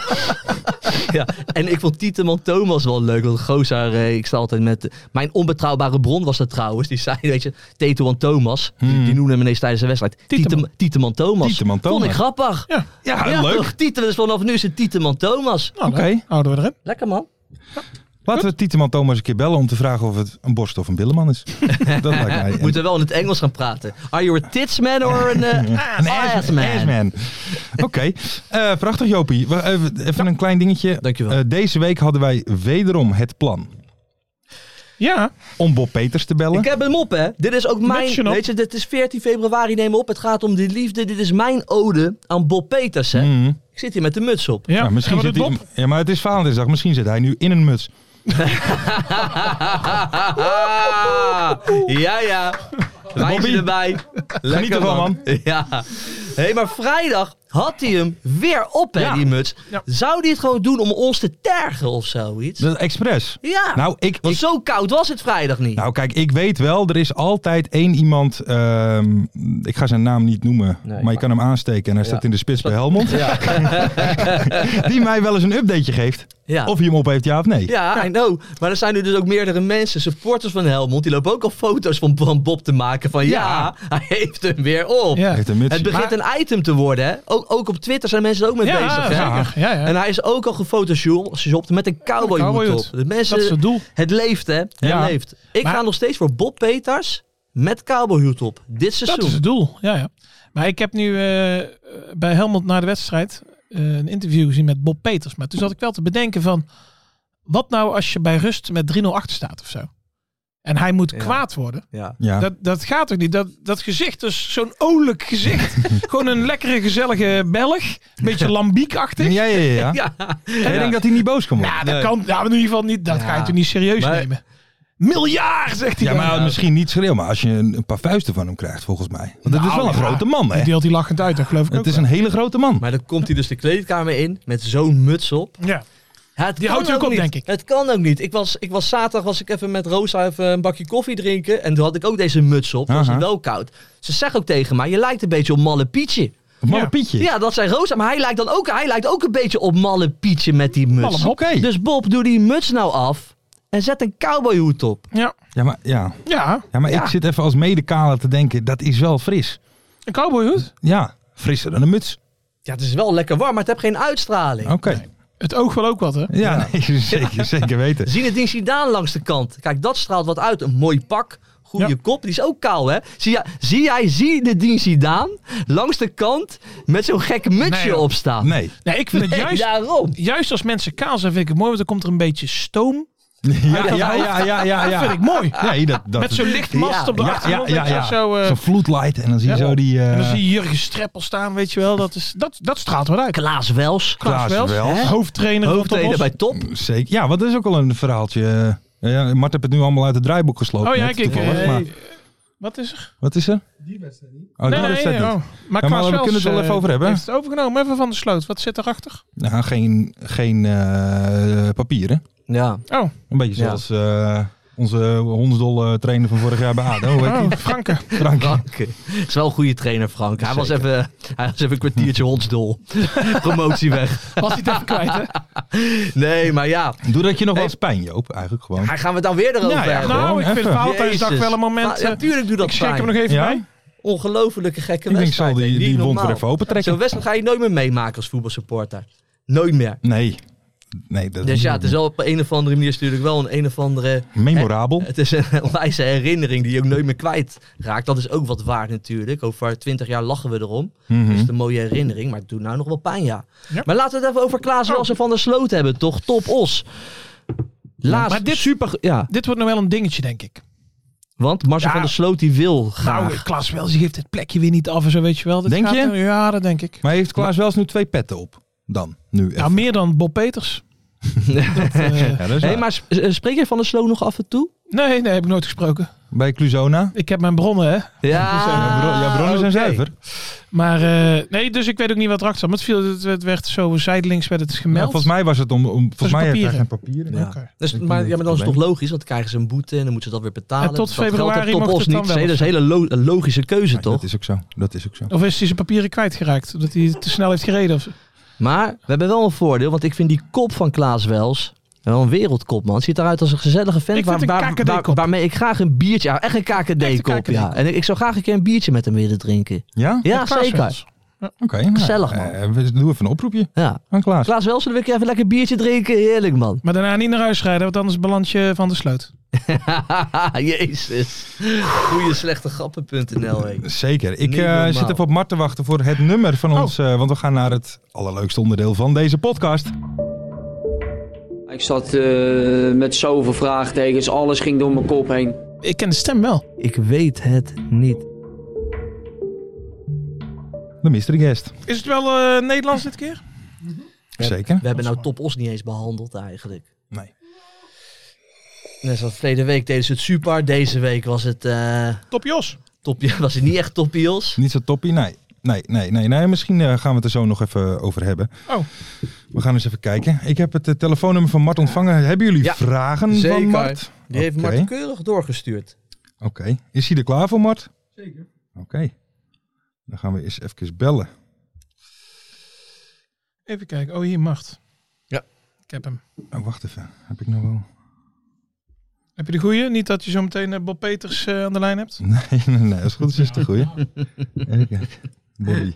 E: Ja, en ik vond Tieteman Thomas wel leuk. Want Gozaar, eh, ik sta altijd met... Mijn onbetrouwbare bron was dat trouwens. Die zei, weet je, Tieteman Thomas. Die, die noemde hem ineens tijdens de wedstrijd.
F: Tieteman.
E: Tietem- Tieteman Thomas.
D: Tieteman Thomas.
E: Vond ik grappig.
F: Ja,
D: Ja, leuk.
E: toch? Tieteman, dus vanaf nu is het Tieteman Thomas.
F: nou,
D: Oké.
F: dan houden we erin.
E: Lekker man.
D: Laten we Tieteman Thomas een keer bellen om te vragen of het een borst of een billeman is. dat lijkt mij.
E: We moeten wel in het Engels gaan praten. Are you a tits man or an eh, ass, man?
D: Yes, man. Oké, Eh, prachtig Jopie. We- Even, even een klein dingetje.
E: Dankjewel.
D: Eh, deze week hadden wij wederom het plan
F: Ja,
D: om Bob Peters te bellen.
E: Ik heb hem op, hè. Dit is ook mijn...
F: je hem op.
E: Weet je, dit is 14 februari, neem me op. Het gaat om de liefde. Dit is mijn ode aan Bob Peters, hè.
D: Mhm.
E: Ik zit hier met de muts op.
F: ja.
D: Ja, Nou, misschien
F: Gaan we
D: zit
F: dit
D: hij,
F: op?
D: ja, maar het is Valentijnsdag. Misschien zit hij nu in een muts.
E: Ah, ja, ja. Wijntje
D: Bobby.
E: erbij. Lekker
D: ervan,
E: Ja. hey, maar vrijdag had hij hem weer op, hè,
F: Ja.
E: die muts.
F: Ja.
E: Zou hij het gewoon doen om ons te tergen of zoiets?
D: Dat is expres.
E: Ja.
D: Dus- Nou, ik,
E: Want
D: ik-
E: zo koud was het vrijdag niet.
D: nou, kijk, ik weet wel, er is altijd één iemand. ehm, ik ga zijn naam niet noemen, maar je kan hem aansteken en hij staat in de spits bij Helmond. die mij wel eens een updateje geeft.
E: ja.
D: Of hij hem op heeft, ja of nee.
E: Ah. ja, I know. Maar er zijn nu dus ook meerdere mensen, supporters van Helmond, die lopen ook al foto's van, van Bob te maken van ja, hij heeft hem weer op.
F: Ja.
D: Hij heeft een muts.
E: Het begint een item te worden, hè? Ook, ook op Twitter zijn mensen er ook mee
F: ja,
E: bezig. Hè?
F: zeker. Ja, ja.
E: En hij is ook al gefotoshopt met een
F: Cowboy
E: cowboyhoed
F: hoed.
E: op. De mensen,
F: dat is het doel.
E: het leeft, hè? Het
D: Ja.
E: leeft. Ik
F: Maar-
E: ga nog steeds voor Bob Peters met cowboyhoed op. Dit seizoen.
F: Dat is het doel, ja, ja. Maar ik heb nu eh, bij Helmond na de wedstrijd eh, een interview gezien met Bob Peters. Maar toen zat ik wel te bedenken van, wat nou als je bij rust met 3-0 achter staat of zo? En hij moet kwaad worden.
E: Ja.
D: Ja.
F: Dat, dat gaat toch niet? Dat, dat gezicht is zo'n olijk gezicht. Gewoon een lekkere, gezellige Belg. Een beetje lambiekachtig.
D: ja, ja, ja. ja.
E: Ja.
D: Ik denk dat hij niet boos kan worden.
F: Ja, dat kan. Ja, maar in ieder geval niet. Dat ga je toch niet serieus
E: Maar-
F: nemen. Miljaar, zegt hij.
D: Ja,
F: dan.
D: maar misschien niet schreeuwen, maar als je een, een paar vuisten van hem krijgt, volgens mij. Want het is wel een
F: ja.
D: grote man,
F: Die
D: hè?
F: deelt hij lachend uit, dat geloof ik ook
D: Het is
F: wel.
D: een hele grote man.
E: Maar dan komt hij dus de kleedkamer in met zo'n muts op.
F: Ja.
E: Het
F: Die
E: kan
F: houdt hij ook op,
E: niet.
F: denk ik.
E: Het kan ook niet. Ik was, ik was zaterdag was ik even met Rosa even een bakje koffie drinken. En toen had ik ook deze muts op. Toen was het
D: Aha.
E: wel koud. Ze zegt ook tegen mij, je lijkt een beetje op Malle Pietje.
D: Malle
F: Ja.
D: Pietje.
E: Ja, dat zijn Rosa. Maar hij lijkt, dan ook, hij lijkt ook een beetje op Malle Pietje met die muts.
D: Oké.
E: Dus Bob, doe die muts nou af en zet een cowboyhoed op.
F: Ja.
D: Ja, maar, ja.
F: ja,
D: ja, maar ik zit even als medekaler te denken, dat is wel fris.
F: een cowboyhoed.
D: Ja, frisser dan een muts.
E: Ja, het is wel lekker warm, maar het heeft geen uitstraling.
D: Oké.
F: Het oog wil ook wat, hè?
D: Ja, nee, zeker, zeker weten.
E: Zien het ding Zidane langs de kant. Kijk, dat straalt wat uit. Een mooi pak. Goede
F: Ja.
E: kop. Die is ook kaal, hè? Zie, jij- zie jij, zie de ding Zidane langs de kant met zo'n gek mutsje
F: joh.
E: opstaan?
D: Nee.
F: Nee, ik vind het
E: Nee,
F: juist,
E: daarom.
F: juist als mensen kaal zijn, vind ik het mooi. Want dan komt er een beetje stoom.
D: Ja, ja, ja, ja, ja.
F: Dat vind
D: ja.
F: ik mooi.
D: Nee, dat, dat,
F: Met zo'n lichtmast
E: Ja,
F: op de
D: ja, ja,
F: achtergrond.
D: ja,
F: weet je,
D: ja.
F: Zo, eh,
D: Zo'n floodlight en dan zie je
F: ja.
D: zo die... eh,
F: en dan zie je Jurgen Streppel staan, weet je wel. Dat, is, dat, dat straalt wat uit.
E: Klaas Wels.
D: Klaas Wels.
F: hè? hoofdtrainer van
E: Hoofdtrainer
F: Topos.
E: bij Top.
D: Zeker. Ja, wat is ook al een verhaaltje. eh, Ja, Mart heeft het nu allemaal uit het draaiboek gesloten.
F: Oh ja,
D: net,
F: kijk.
D: toevallig,
F: eh,
D: maar-
F: Wat is er?
D: Wat is er?
G: Die wedstrijd niet.
D: Oh,
F: Nee,
D: dat is
F: nee,
D: dat
F: nee,
D: niet.
F: oh. Maar
D: Ja, maar
F: Klaas
D: we
F: Wels,
D: kunnen het wel
F: eh,
D: even over hebben.
F: Heeft het overgenomen, even van de sloot. Wat zit erachter?
D: Nou, geen, geen eh, papieren.
E: Ja.
F: Oh,
D: Een
E: Ja.
D: beetje zoals eh, onze hondsdolle trainer van vorig jaar bij ADO. Weet
F: oh Franke.
D: Frank.
E: Frank. Is wel een goede trainer, Frank. Hij was, even, hij was even een kwartiertje hondsdol. Promotie weg.
F: Was hij het even kwijt,
D: Oh,
F: hè?
E: Nee, maar ja.
D: Doe dat je nog wel eens pijn, Joop. Eigenlijk gewoon.
E: Hij gaan we het dan weer erover
D: Ja, ja,
E: hebben.
D: gewoon
F: Nou, ik vind
D: even.
F: Valentijnsdag
E: Jezus.
F: wel een moment...
E: Maar, ja,
F: eh,
E: tuurlijk doet dat
F: ik check
E: pijn.
F: hem nog even
D: Ja?
F: bij.
E: Ongelofelijke gekke
D: Ik denk, zal
E: wedstrijd.
D: die,
E: Niet
D: die wond
E: normaal.
D: weer even opentrekken.
E: Zo'n wedstrijd ga je nooit meer meemaken als voetbalsupporter. Nooit meer.
D: Nee. nee dat
E: Dus
D: is
E: ja, het is wel op een of andere manier is het natuurlijk wel Eh, een een of andere...
D: Memorabel.
E: Het is een onwijze herinnering die je ook nooit meer kwijtraakt. Dat is ook wat waard natuurlijk. Over twintig jaar lachen we erom.
D: Mhm.
E: Dat is een mooie herinnering, maar het doet nou nog wel pijn, ja.
F: Ja. Oh.
E: Maar laten we het even over Klaas Wals en Van der Sloot hebben, toch? Top Os. Laatst,
F: Maar dit-
E: super... Ja,
F: Dit wordt nog wel een dingetje, denk ik.
E: want Marcel
F: Ja.
E: van der Sloot die wil graag.
F: Nou, Klaas Wels die geeft het plekje weer niet af en zo, weet je wel. Dit
D: Denk
F: gaat
D: je?
F: er- Ja, dat denk ik.
D: Maar heeft Klaas wel eens nu twee petten op? Dan, nu even.
F: Nou, meer dan Bob Peters. Dat, eh,
D: Ja, dat is
E: Hé,
D: waar.
E: maar sp- eh, spreek je van der Sloot nog af en toe?
F: nee, nee, heb ik nooit gesproken.
D: Bij Cluzona?
F: Ik heb mijn bronnen, hè.
E: Ja,
D: ja, bro- ja, bronnen zijn
E: Ah, oké.
D: zuiver.
F: Maar eh, nee, dus ik weet ook niet wat erachter zat. Maar het, viel, het, het werd zo zijdelings werd het dus
D: Ja,
F: gemeld.
D: volgens mij was het om... om volgens mij heeft hij
F: papieren.
D: geen papieren.
F: Ja.
D: Ja.
F: Oké.
E: Dus,
D: Ik
E: maar,
D: denk
E: ja, maar dan is het
D: dat
E: toch
D: het
E: logisch, want dan krijgen ze een boete en dan moeten ze dat weer betalen.
F: En tot
E: Dus dat geldt
F: februari
E: heeft Top
F: mocht
E: Os
F: het dan
E: niet.
F: wel.
E: Dat is een hele lo- een logische keuze,
D: Ja,
E: toch?
D: Dat is ook zo. Dat is ook zo.
F: Of is hij zijn papieren kwijtgeraakt? Omdat hij te snel heeft gereden? Of...
E: Maar we hebben wel een voordeel, want ik vind die kop van Klaas Wels wel een wereldkop, man. Ziet eruit als een gezellige vent
F: Ik vind een KKD-kop.
E: waarmee ik graag een biertje... Ja, echt een KKD-kop,
F: KKD-kop.
E: ja. En ik, ik zou graag een keer een biertje met hem willen drinken.
D: Ja?
E: Ja,
F: Met Klaas
E: zeker.
F: Wels.
D: Oké. nou,
E: Gezellig, man.
D: eh, we doen even een oproepje
E: Ja.
D: aan Klaas.
E: Klaas Wels, wil ik even lekker een biertje drinken? Heerlijk, man.
F: Maar daarna niet naar huis rijden, want anders beland je van de sloot.
E: Jezus. Goeie slechte grappen.nl, hé.
D: Zeker. Ik
E: Niet
D: eh,
E: normaal. Oh.
D: zit even op Mart te wachten voor het nummer van ons. eh, want we gaan naar het allerleukste onderdeel van deze podcast.
H: Ik zat eh, met zoveel vraagtekens, alles ging door mijn kop heen.
F: Ik ken de stem wel.
E: Ik weet het niet.
D: De mystery guest.
F: Is het wel eh, Nederlands dit keer?
D: Zeker.
E: We hebben nou Top Os niet eens behandeld, eigenlijk.
D: Nee.
E: Net zoals verleden week deden ze het super. Deze week was het... eh,
F: Top Jos.
E: Topje was het niet echt toppios.
D: Niet zo toppie, nee. Nee, nee, nee, nee. Misschien eh, gaan we het er zo nog even over hebben.
F: Oh.
D: We gaan eens even kijken. Ik heb het eh, telefoonnummer van Mart ontvangen. Hebben jullie
E: Ja,
D: vragen
E: zeker.
D: van Mart?
E: Die heeft
D: Oké.
E: Marten keurig doorgestuurd.
D: Oké. Is hij er klaar voor, Mart?
G: Zeker.
D: Oké. Dan gaan we eens even bellen.
F: Even kijken. Oh, hier, Macht.
E: Ja.
F: Ik heb hem.
D: Oh, wacht even. Heb ik nog wel...
F: Heb je de goeie? Niet dat je zo meteen eh, Bob Peters eh, aan de lijn hebt?
D: Nee, nee, nee. Als het goed is, is het de goeie. Even kijken. Bobby.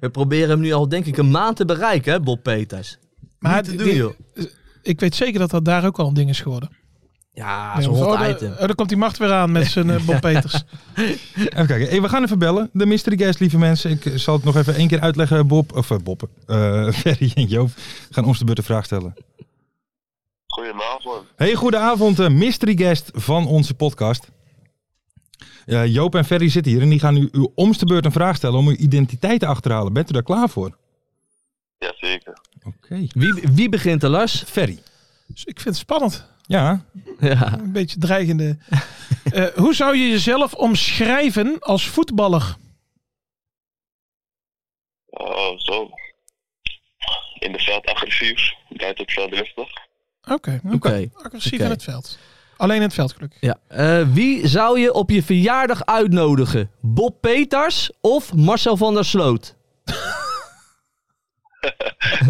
E: We proberen hem nu al denk ik een maand te bereiken, hè, Bob Peters.
F: Maar
E: Niet te
F: d-
E: doen,
F: dit-
E: joh.
F: ik weet zeker dat dat daar ook al een ding is geworden.
E: Ja,
F: Bij
E: Ah, zo'n
F: ons.
E: hot
F: oh, daar-
E: item.
F: oh, daar komt die macht weer aan met zijn eh, Bob Peters.
D: Even kijken. Hey, we gaan even bellen. De mystery guest, lieve mensen. Ik eh, zal het nog even één keer uitleggen. Bob, of eh, Bob, eh, Ferry en Joop gaan ons de beurt een vraag stellen.
I: Goedenavond.
D: Hey, goedenavond, eh, mystery guest van onze podcast. Eh, Joop en Ferry zitten hier en die gaan u uw omste beurt een vraag stellen om uw identiteit te achterhalen. Bent u daar klaar voor?
I: Jazeker.
D: Oké.
E: Wie, wie begint de Lars?
D: Ferry.
F: Dus ik vind het spannend.
D: Ja,
E: Ja.
F: Een beetje dreigende. Eh, hoe zou je jezelf omschrijven als voetballer?
I: Oh, zo. In de veld agressief, buiten het veld rustig.
F: Oké, oké.
E: Oké.
F: agressief
E: Oké.
F: in het veld. Alleen in het veld, gelukkig.
E: Ja. Eh, wie zou je op je verjaardag uitnodigen? Bob Peters of Marcel van der Sloot?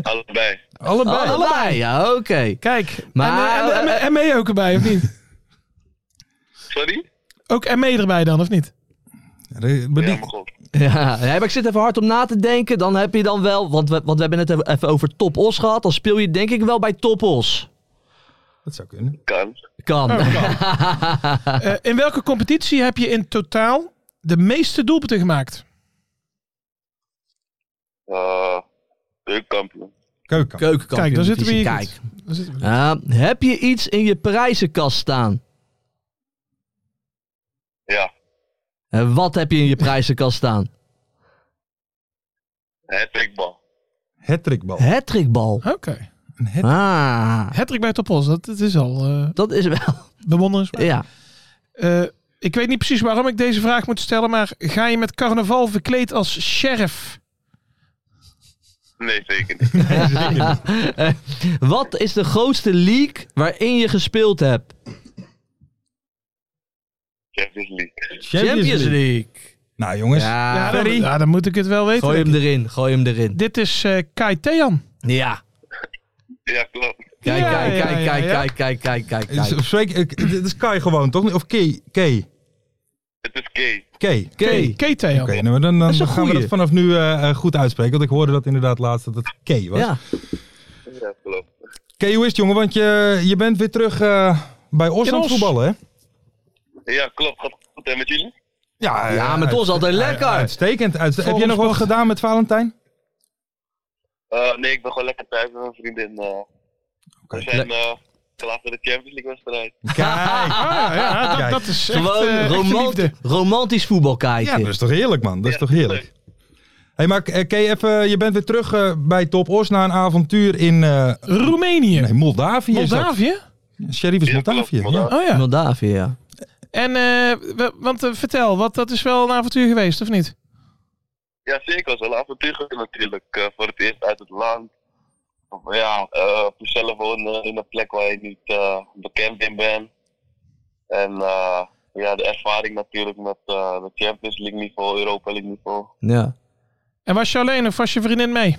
I: Allebei.
D: allebei.
E: Allebei, ja, oké.
F: Kijk,
E: Maar-
F: en, eh, en, en, en ME ook erbij, of niet?
I: Sorry?
F: Ook ME erbij dan, of niet?
D: Re- maar die-
I: Ja, maar goed.
E: Ja, nee, maar ik zit even hard om na te denken. Dan heb je dan wel, want we, want we hebben het even over Top Os gehad. Dan speel je denk ik wel bij Top Os.
D: Dat zou kunnen.
I: Kan.
E: Kan.
F: Oh. Eh, in welke competitie heb je in totaal de meeste doelpunten gemaakt?
I: Eh Deukkampioen.
D: Keuken.
E: Keukenkampioen.
F: Kijk, daar zitten we hier
E: Kijk.
F: goed. Daar zitten we.
E: Eh, heb je iets in je prijzenkast staan?
I: Ja.
E: En Eh, wat heb je in je prijzenkast staan?
I: Het prikbal.
D: Hattrickbal.
E: Hattrickbal.
F: Oké.
D: Een hat-
E: Ah,
F: Hattrick bij Topos, dat, dat is al eh
E: dat is wel.
F: bewonderenswaardig.
E: Ja.
F: Eh, ik weet niet precies waarom ik deze vraag moet stellen, maar ga je met carnaval verkleed als sheriff?
I: Nee, zeker niet.
E: Eh, wat is de grootste league waarin je gespeeld hebt?
I: Champions League.
E: Champions League.
D: Nou jongens,
E: Ja,
F: dan,
D: Ferry.
F: ja, dan moet ik het wel weten.
E: gooi
F: denk
E: hem
F: ik.
E: erin, gooi hem erin.
F: Dit is eh Kai Thean.
E: Ja.
I: Ja, klopt.
E: Kijk,
F: Ja,
E: kijk,
F: ja,
E: kijk,
F: ja,
E: kijk,
F: ja.
E: kijk, kijk, kijk, kijk,
D: Is-
E: kijk.
D: spreek- ik- dit is Kai gewoon toch? Of Kay? Kay.
I: Het is gay.
D: K.
F: K. K. Theo.
D: Oké, nou, maar dan, dan
E: is een
D: gaan we
E: goeie.
D: dat vanaf nu eh, eh, goed uitspreken. Want ik hoorde dat inderdaad laatst dat het K was.
E: Ja.
I: Ja, klopt.
D: K, hoe is het jongen? Want je, je bent weer terug eh, bij Os
F: In
D: aan het
F: Os.
D: voetballen, hè?
I: Ja, klopt. Gaat het goed hè, met jullie?
D: Ja, eh,
E: Ja, met
D: uit-
E: ons altijd
D: uit-
E: lekker.
D: Uitstekend. Uitste- Heb
F: Vol
D: je nog wat
F: sport.
D: gedaan met Valentijn?
I: Eh, nee, ik ben gewoon lekker thuis met mijn vriendin. eh.
D: Oké.
I: we zijn eh, klaar voor de Champions League wedstrijd.
D: Kijk.
F: Ah, ja, dat,
D: Kijk,
F: dat is echt,
E: Gewoon
F: eh, echte
E: romant-
F: liefde.
E: romantisch voetbal
D: Ja,
E: kijken.
D: dat is toch heerlijk, man. Dat is
I: Ja,
D: toch heerlijk. hey, maar eh, K, even, je bent weer terug eh, bij Top Os na een avontuur in eh,
F: Roemenië.
D: nee, Moldavië. is dat.
F: Moldavië?
D: Sheriff is
I: Ja, klopt,
D: Moldavië. Ja.
I: Moldavië.
F: Oh ja.
E: Moldavië, ja.
F: En, eh, we- want eh, vertel, wat, dat is wel een avontuur geweest, of niet?
I: Ja, zeker. Het is wel een avontuur geweest natuurlijk. eh, voor het eerst uit het land. Maar Ja, eh, op jezelf wonen in een plek waar je niet eh, bekend in bent. En eh, ja, de ervaring natuurlijk met eh de Champions League niveau, Europa League niveau.
E: ja.
F: En was je alleen of was je vriendin mee?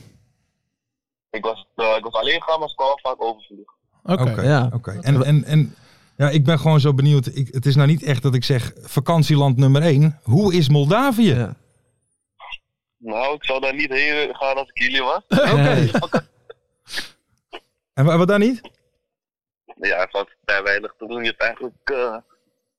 I: Ik was, eh, ik was alleen gaan, maar ze kwamen vaak overvliegen.
F: Oké.
D: Oké,
E: Ja.
D: oké. En, en, en ja, ik ben gewoon zo benieuwd. Ik, het is nou niet echt dat ik zeg vakantieland nummer één. Hoe is Moldavië?
E: Ja.
I: Nou, ik zou daar niet heen gaan als ik jullie was.
D: En wa- wat dan niet?
I: Ja, er valt vrij weinig te doen. Je hebt eigenlijk eh,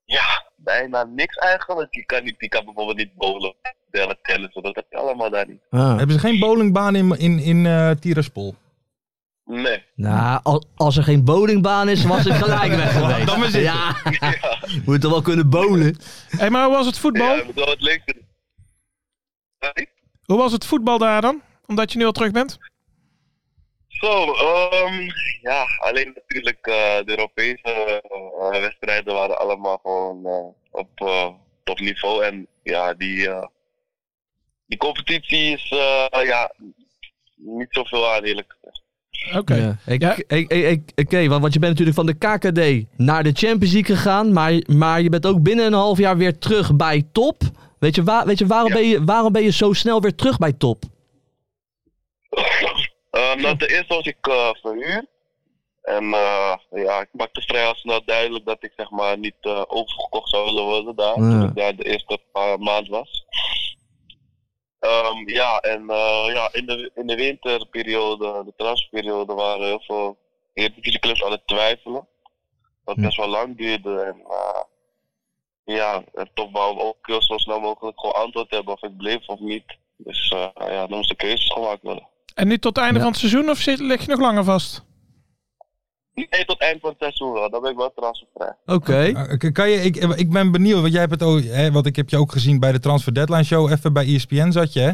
I: ja, bijna niks eigenlijk. Je kan, niet, je kan bijvoorbeeld niet bowlen, tellen, tellen, zo, dat heb je allemaal daar niet.
E: Ah.
D: Hebben ze geen bowlingbaan in, in, in eh, Tiraspol?
I: Nee.
E: Nou, al- als er geen bowlingbaan is, was ik gelijk weg geweest.
D: Dan maar zitten.
E: ja. Moet toch wel kunnen bowlen?
F: Hey, maar hoe was het voetbal?
I: Ja, je moet wel wat leuks doen. Sorry?
F: Hoe was het voetbal daar dan? Omdat je nu al terug bent?
I: Zo, ehm, ja, alleen natuurlijk eh, de Europese eh, wedstrijden waren allemaal gewoon eh, op eh, topniveau. En ja, die, eh, die competitie is eh, ja, niet zoveel aan eerlijk gezegd.
F: Oké.
E: Ja. Ik,
F: Ja.
E: ik, ik, ik- Oké, want, want je bent natuurlijk van de KKD naar de Champions League gegaan, maar, maar je bent ook binnen een half jaar weer terug bij top. Weet je, waar, weet je, waarom,
I: Ja.
E: ben je waarom ben je zo snel weer terug bij top?
I: Ehm, nou, ten eerste was ik eh verhuurd. En eh, ja, ik maakte vrij al snel duidelijk dat ik zeg maar niet eh, overgekocht zou willen worden daar.
E: Ja.
I: Toen ik daar de eerste paar maand was. Ehm, ja, en eh, ja, in, de, in de winterperiode, de transferperiode, waren heel veel Eredivisie clubs aan het twijfelen. Wat
E: Ja.
I: best wel lang duurde. En eh, ja, en toch wou ook heel zo snel mogelijk gewoon antwoord hebben of ik bleef of niet. Dus eh, ja, dan moest de keuzes gemaakt worden.
F: En nu tot het einde
E: Ja.
F: van het seizoen of zit, lig je nog langer vast?
I: Nee, tot eind van het seizoen wel. Dan ben ik wel transfervrij.
E: Oké.
D: Eh, k- Kan je, ik, ik ben benieuwd, want jij hebt het ook, hè, want ik heb je ook gezien bij de Transfer Deadline Show, even bij E ESPN zat je, hè?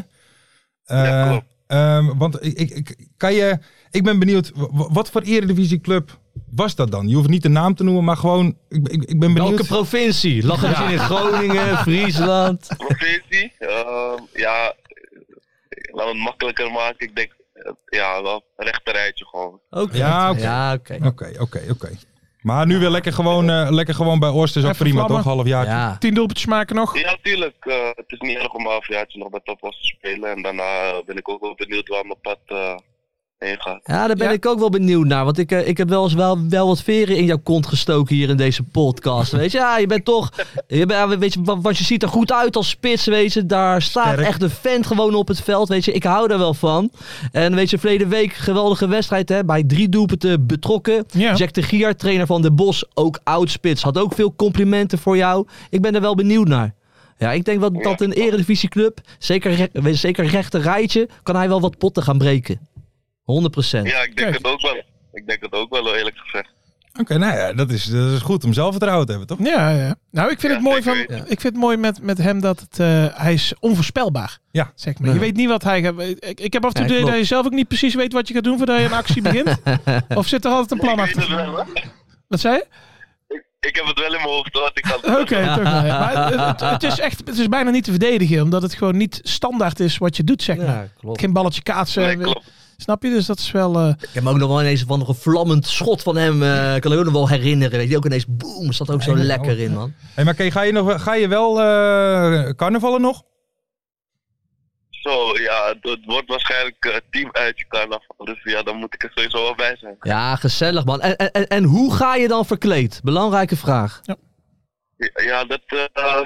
I: Ja,
D: Eh,
I: klopt.
D: ehm, want ik, ik, ik- kan je, ik ben benieuwd, w- w- wat voor eredivisieclub was dat dan? Je hoeft niet de naam te noemen, maar gewoon, ik, ik, ik ben benieuwd.
E: Welke provincie? Lag het in Groningen, Friesland?
I: Provincie, ehm, ja, eh, laten we het makkelijker maken. Ik denk, eh, ja, wel een rechterrijtje gewoon.
E: Oké.
D: Ja, oké.
E: Ja, oké.
D: Oké, oké, oké. Maar nu weer lekker gewoon, eh, lekker gewoon bij Oost is ook
F: Even
D: prima
F: vlammen.
D: toch, half jaar.
E: Ja.
F: Tien doelpuntjes maken nog?
I: Ja, natuurlijk. eh, het is niet erg om een halfjaartje nog bij Topos te spelen. En daarna eh, ben ik ook wel benieuwd waar mijn pad eh, heen gaat.
E: Ja, daar ben
F: Ja.
E: ik ook wel benieuwd naar. Want ik, eh, ik heb wel eens wel, wel wat veren in jouw kont gestoken hier in deze podcast. Weet je, ja, je bent toch. Je bent, ja, weet je, wa- want je ziet er goed uit als spits, weet je. Daar staat
D: Sterk.
E: echt een vent gewoon op het veld, weet je. Ik hou daar wel van. En weet je, verleden week geweldige wedstrijd, hè. Bij drie doelpunten betrokken.
F: Ja.
E: Jack de Gier, trainer van de Bos, ook oud spits. Had ook veel complimenten voor jou. Ik ben er wel benieuwd naar. Ja, ik denk wel dat een eredivisieclub, zeker, re- zeker rechter rijtje, kan hij wel wat potten gaan breken. 100 procent.
I: Ja, ik denk
F: Kijk.
I: het ook wel. Ik denk het ook wel, hoor, eerlijk gezegd.
D: Oké, nou ja, dat is, dat is goed om zelfvertrouwen te hebben, toch?
F: Ja, ja. Nou, ik vind
I: Ja,
F: het mooi, van,
I: zeker
F: ik vind het mooi met, met hem dat het, eh, hij is onvoorspelbaar.
D: Ja.
F: Zeg maar. Je
E: Ja.
F: weet niet wat hij gaat... Ik, ik heb af
E: Ja,
F: en toe het idee
E: klopt.
F: dat je zelf ook niet precies weet wat je gaat doen voordat je een actie begint. of zit er altijd een plan
I: Ik weet het
F: achter?
I: wel, hoor.
F: Wat zei je?
I: Ik heb het wel in mijn hoofd, hoor. Ik had
F: Oké, toch wel. Maar het- het, het is echt, het is bijna niet te verdedigen, omdat het gewoon niet standaard is wat je doet, zeg maar.
E: Ja, klopt.
F: Geen balletje
I: Nee,
F: kaatsen.
I: klopt.
F: snap je? Dus dat is wel... eh,
E: Ik heb me ook nog wel ineens van nog een vlammend schot van hem. eh kan ik ook nog wel herinneren. Weet je ook ineens, boem, zat ook zo
D: Ja,
E: lekker
D: oh.
E: in, man.
D: Hey, maar Kay, ga je, nog, ga je wel eh carnavallen nog?
I: Zo, ja, het, het wordt waarschijnlijk eh, team uit je carnaval. Dus ja, dan moet ik er sowieso wel bij zijn.
E: Ja, gezellig, man. En, en- en, en hoe ga je dan verkleed? Belangrijke vraag.
I: Ja, dat, eh, eh,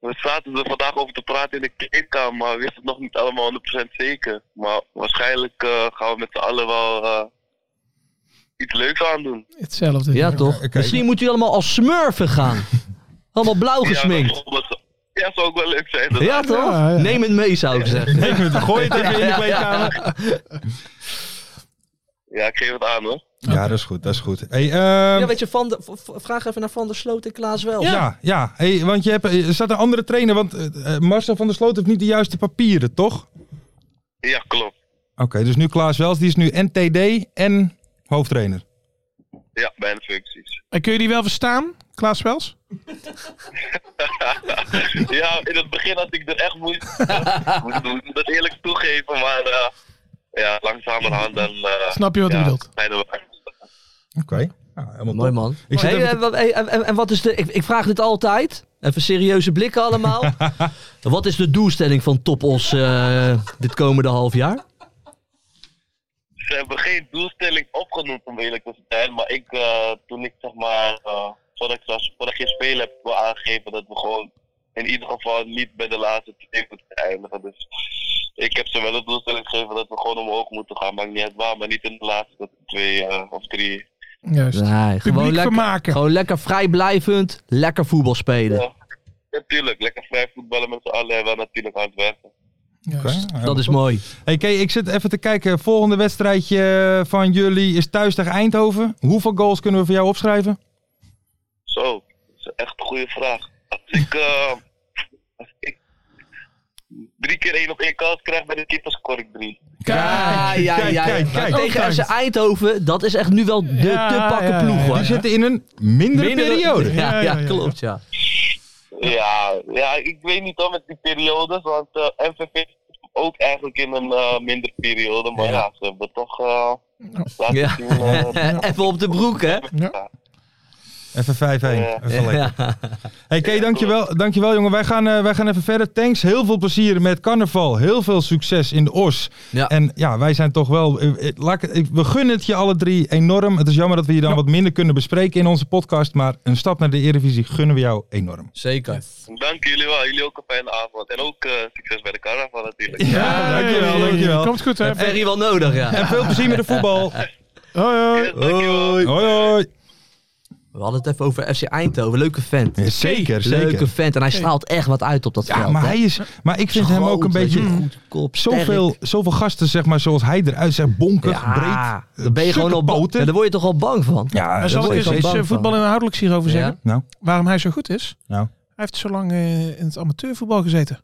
I: We zaten er vandaag over te praten in de kleedkamer, maar we wisten het nog niet allemaal 100% zeker. Maar waarschijnlijk eh, gaan we met z'n allen wel eh, iets leuks aan doen.
F: Hetzelfde.
E: Ja, toch?
D: oké.
E: Misschien moet u allemaal als smurfen gaan. allemaal blauw
I: Ja,
E: gesminkt.
I: dat, dat- ja, zou ook wel leuk zijn.
E: Ja,
I: inderdaad.
E: toch?
F: Ja, ja.
E: Neem het mee, zou ik zeggen.
D: Neem het, gooi het even in de kleedkamer.
I: Ja, ik geef het aan hoor.
D: Ja, dat is goed, dat is goed. Hey, ehm,
E: Ja, weet je, van de, v- v- vraag even naar Van der Sloot en Klaas wel.
D: ja, ja, Hey, want je hebt, eh, er staat een andere trainer, want eh, eh, Marcel van der Sloot heeft niet de juiste papieren, toch? Oké,
I: Ja, klopt.
D: dus nu Klaas Wels, die is nu NTD en hoofdtrainer.
I: Ja, bijna functies.
F: En kun je die wel verstaan, Klaas Wels?
I: Ja, in het begin had ik er echt moeite mee. Ik moet dat eerlijk toegeven, maar eh ja, langzamerhand dan... eh,
F: Snap je wat
I: ja,
F: ik bedoelt?
I: zijn we-
D: Oké. Nou, helemaal
E: Mooi
D: top.
E: man.
D: Ik zit
E: Hey,
D: even
E: eh,
D: te-
E: wat- hey, en, en- en wat is de. Ik, ik vraag dit altijd. Even serieuze blikken allemaal. wat is de doelstelling van Topos eh, dit komende half jaar?
I: ze hebben geen doelstelling opgenoemd om eerlijk te zijn. Maar ik, eh, toen ik zeg maar, eh, voordat, ik, zelfs- voordat ik geen spelen heb, wel aangegeven dat we gewoon in ieder geval niet bij de laatste twee moeten eindigen. Dus ik heb ze wel een doelstelling gegeven dat we gewoon omhoog moeten gaan. Maakt niet uit waar, maar niet in de laatste twee eh, of drie.
F: Juist.
E: Nee, gewoon
F: Publiek
E: lekker,
F: vermaken.
E: gewoon lekker vrijblijvend. Lekker voetbal spelen.
I: Ja. Natuurlijk, lekker vrij voetballen met z'n allen en wel natuurlijk hard werken.
D: Oké,
F: Juist.
D: helemaal
E: Dat is
D: top.
E: mooi.
D: Hey Kay, ik zit even te kijken. Volgende wedstrijdje van jullie is thuis tegen Eindhoven. Hoeveel goals kunnen we voor jou opschrijven?
I: Zo, dat is echt een goede vraag. Als ik, eh, als ik drie keer één op één kans krijg bij de keeper, score ik drie.
E: Ja, ja,
D: kijk,
E: ja.
D: kijk, kijk.
E: Tegen FC Eindhoven, dat is echt nu wel de
F: Ja,
E: te pakken
F: ja,
E: ploeg
F: ja,
E: hoor.
D: Die zitten in een mindere,
E: Mindere-
D: periode.
E: Ja, ja,
F: Ja, ja, ja.
E: klopt ja.
I: Ja, ja, ik weet niet hoor met die periodes, want eh MVV zit ook eigenlijk in een eh, minder periode, maar ja. ze hebben toch eh laten
E: Ja.
I: zien. eh,
E: Even op de broek hè.
D: Even 5-1.
I: Ja.
D: Even lekker.
E: Ja.
D: Hey Kay, dankjewel, dankjewel jongen. Wij gaan, eh, wij gaan even verder. Thanks. Heel veel plezier met carnaval. Heel veel succes in de Os.
E: Ja.
D: En ja, wij zijn toch wel... eh, eh, laat ik- ik- we gunnen het je alle drie enorm. Het is jammer dat we je dan wat minder kunnen bespreken in onze podcast. Maar een stap naar de Eredivisie gunnen we jou enorm.
E: Zeker.
I: dank jullie wel, jullie ook een fijne avond en ook eh, succes bij de carnaval natuurlijk.
D: Ja, dankjewel, dankjewel.
F: Komt goed, hè?
E: Ferry wel nodig ja.
D: En veel plezier met de voetbal.
F: Hoi, hoi.
I: Yes, dankjewel.
D: Hoi hoi.
E: We hadden het even over FC Eindhoven. Leuke vent.
D: Ja, zeker, zeker.
E: Leuke vent. En hij straalt echt wat uit op dat
D: Ja,
E: veld.
D: maar
E: hè.
D: hij is. Maar ik vind
E: Groot,
D: hem ook een
E: weet je,
D: beetje.
E: goed kop,
D: Zoveel,
E: sterk.
D: zoveel gasten, zeg maar, zoals hij eruit zegt. Bonkig,
E: ja,
D: breed.
E: Dan ben je gewoon al bang.
D: boten.
E: Ja, daar word je toch al bang van.
D: Ja,
F: Maar zal
D: dat
F: ik
D: is
F: eens
E: wel
F: iets
E: bang
F: eh,
E: van.
F: voetbal inhoudelijks hierover
E: Ja?
F: zeggen?
D: Nou,
F: Waarom hij zo goed is?
D: nou.
F: Hij heeft zo lang eh, in het amateurvoetbal gezeten.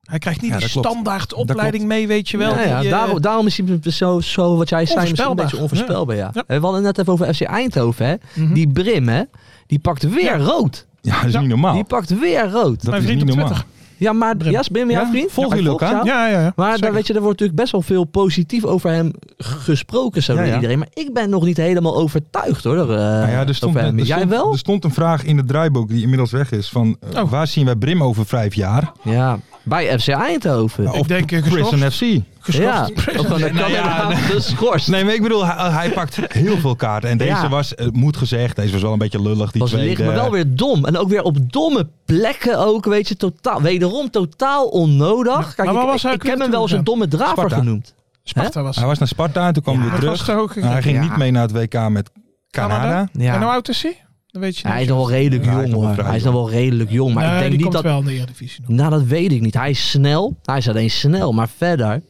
F: Hij krijgt niet
D: Ja,
F: die
D: dat klopt.
F: standaard opleiding mee, weet je wel.
E: Ja, ja,
F: die, eh,
E: daarom, daarom is hij zo, zo wat jij zei, misschien een beetje
F: Onvoorspelbaar.
E: onvoorspelbaar. Ja.
F: Ja.
E: We hadden het net even over FC Eindhoven. Hè.
F: Mhm.
E: Die Brim, hè, die pakt weer rood.
D: Ja, Oh. dat is
F: Ja,
D: niet normaal.
E: Die pakt weer rood.
D: dat
F: Mijn
D: is
F: vriend
D: niet
F: op
D: normaal.
F: Twitter.
E: Ja, maar
F: Brim.
E: Ja, is Brim, jouw
D: Ja,
E: vriend?
D: volg
E: Ja, hij
D: jullie ook
E: volgt
D: aan?
E: jou.
F: Ja, ja, ja.
E: Maar daar,
F: Zeker.
E: weet je, er wordt natuurlijk best wel veel positief over hem g- gesproken zo
D: Ja,
E: door
D: ja.
E: iedereen. Maar ik ben nog niet helemaal overtuigd hoor. eh,
D: Nou ja, er stond,
E: over
D: er,
E: hem.
D: stond,
E: Jij wel?
D: er stond een vraag in het draaiboek die inmiddels weg is. Van eh,
F: Oh.
D: waar zien wij Brim over vijf jaar?
E: Ja, bij FC Eindhoven.
D: Nou, of
F: denk, eh,
D: Prison
F: geschorst.
D: FC.
E: ja, ook gewoon een Canada geschorst.
D: Nee, maar ik bedoel, hij, hij pakt heel veel kaarten. En deze
E: Ja.
D: was, eh, moet gezegd, deze was wel een beetje lullig. Die
E: was
D: tweede.
E: licht, maar
F: eh,
E: wel weer dom. En ook weer op domme plekken ook, weet je. Totaal, wederom totaal onnodig. Kijk,
F: maar waar
E: ik,
F: was hij
E: ik
F: ook
E: heb
F: weer
E: hem wel eens een
F: toen
E: domme draver
D: Sparta.
E: genoemd.
F: Sparta was.
D: Hij was naar Sparta en toen kwam
E: Ja,
D: hij weer
F: maar het
D: terug. Nou,
F: was toch ook-
D: hij ging
E: Ja.
D: niet mee naar het WK met Canada.
F: Canada?
E: Ja.
F: En nou, hoe oud is hij? Dat weet je niet.
E: Hij is nog wel redelijk
D: Ja, hij is
E: jong
D: nog wel
E: hoor.
D: vrij
E: Hij is nog wel redelijk jong. Maar
F: Nee,
E: ik
F: die
E: denk niet
F: komt
E: dat...
F: wel in de Eredivisie nog.
E: Nou, dat weet ik niet. Hij is snel. Hij is alleen snel. Maar verder...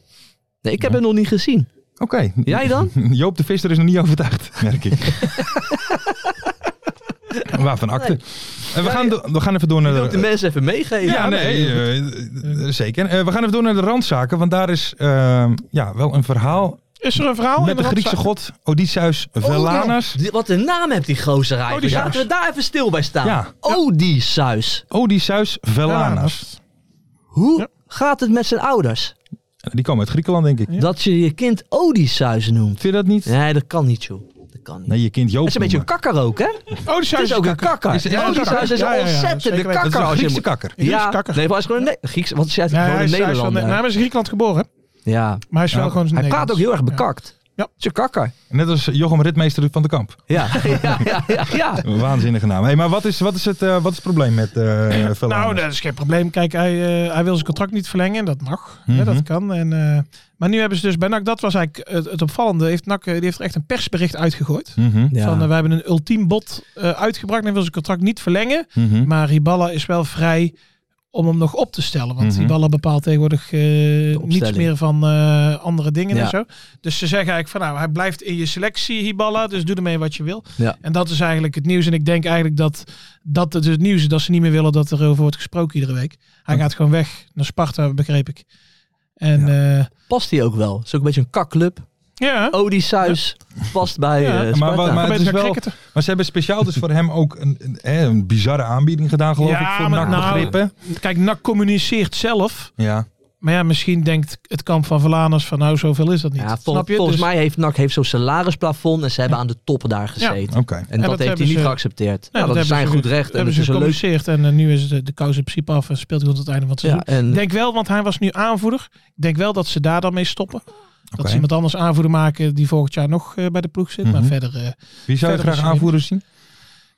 E: Nee, ik heb hem nog niet gezien.
D: Oké.
E: Jij dan?
D: Joop de Visser is nog niet overtuigd, merk ik. Waarvan akte. Eh, We, gaan do- we gaan even door naar
E: Ik wil de
D: de...
E: mensen even meegeven.
D: Ja, nee, eh, eh, zeker. Eh, we gaan even door naar de randzaken, want daar is eh, ja, wel een verhaal
F: Is er een verhaal Oh, in
D: met de Griekse
F: randzaak? Oh,
D: god Odysseus Velanas.
E: Oh, Die- Wat een naam heeft die gozer eigenlijk.
F: Odysseus.
E: Laten we daar even stil bij staan.
D: Ja.
E: Odysseus.
D: Odysseus Velanas.
E: Hoe gaat het met zijn ouders?
D: Die komen uit Griekenland, denk ik.
E: Dat je je kind Odysseus noemt.
D: Vind je dat niet?
E: Nee, dat kan niet, joh. Dat kan niet.
D: Nee, je kind Joop.
E: Hij is een beetje een
D: noemen.
E: kakker ook, hè?
F: Oh, dus hij
E: Het is ook een kakker.
D: Is- ja,
E: Odysseus is
F: ja, ja,
E: een
F: ja, zeker
E: ontzettende
F: weten.
D: Dat is
E: kakker.
D: een
E: als je hem-
D: Griekse kakker.
F: Griekse
E: Ja,
F: kakker.
E: nee, maar hij is gewoon een Ne- Grieks, want hij is
F: Ja,
E: gewoon
F: hij
E: een
F: is, hij is wel- nou,
E: Nederlander.
F: hij is in Griekenland geboren,
E: Ja.
F: maar hij is wel
D: Ja.
F: gewoon
E: Hij praat ook heel erg bekakt.
F: Ja.
E: Tjekakka.
D: Net als Jochem Ritmeester van de Kamp.
E: Ja. ja, ja, ja, ja.
D: Waanzinnige naam. Hey, maar wat is, wat, is het, eh, wat is het probleem met eh Velasquez?
F: Nou, dat is geen probleem. Kijk, hij, eh, hij wil zijn contract niet verlengen. Dat mag.
D: Mhm.
F: hè, dat kan. En, eh, maar nu hebben ze dus bij NAC, dat was eigenlijk het, het opvallende. Heeft NAC eh, die heeft er echt een persbericht uitgegooid.
D: Mhm,
F: Van, eh, we hebben een ultiem bod eh, uitgebracht en wil zijn contract niet verlengen.
D: mhm.
F: Maar Riballa is wel vrij om hem nog op te stellen. Want
D: Mhm.
F: Riballa bepaalt tegenwoordig eh, niets
E: opstelling.
F: meer van eh, andere dingen
E: Ja.
F: en zo. Dus ze zeggen eigenlijk van nou, hij blijft in je selectie, Riballa. Dus doe ermee wat je wil.
E: Ja.
F: En dat is eigenlijk het nieuws. En ik denk eigenlijk dat dat het, het nieuws is dat ze niet meer willen dat er over wordt gesproken iedere week. Hij gaat gewoon weg naar Sparta, begreep ik. En ja,
E: Past hij ook wel. Is ook een beetje een kakclub.
F: ja.
E: Oh, Odysseus past bij
F: Ja.
E: eh,
F: Maar
D: Maar,
E: Sparta.
D: wa- maar,
F: Probeer
D: het is
F: te gaan
D: wel,
F: cricketen.
D: maar ze hebben speciaal dus voor hem ook een, een, hè, een bizarre aanbieding gedaan, geloof
F: Ja,
D: ik, voor
F: maar
D: NAC
F: nou-
D: begrippen.
F: Kijk, NAC communiceert zelf.
D: Ja.
F: Maar ja, misschien denkt het kamp van Verlaners van nou, zoveel is dat niet.
E: ja, vol-
F: Snap je?
E: Volgens
F: Dus-
E: mij heeft NAC heeft zo'n salarisplafond en ze hebben aan de top daar gezeten.
D: Oké.
E: En dat,
F: dat
E: heeft hij
F: hebben
E: niet
F: ze-
E: geaccepteerd.
F: Nee,
E: nou, dat, is zijn
F: hebben
E: goed
F: ze-
E: recht. En
F: hebben
E: dat
F: ze
E: is een leuk...
F: gecommuniceerd en eh, nu is de, de kous in principe af en speelt hij tot het einde van het
E: Ja,
F: seizoen.
E: en
F: Ik denk wel, want hij was nu aanvoerder. Ik denk wel dat ze daar dan mee stoppen. Dat
D: Oké.
F: ze iemand anders aanvoerder maken die volgend jaar nog eh, bij de ploeg zit.
D: Mhm.
F: Maar verder... eh,
D: Wie zou je
F: Verder
D: graag
F: is er
D: aanvoeren zien?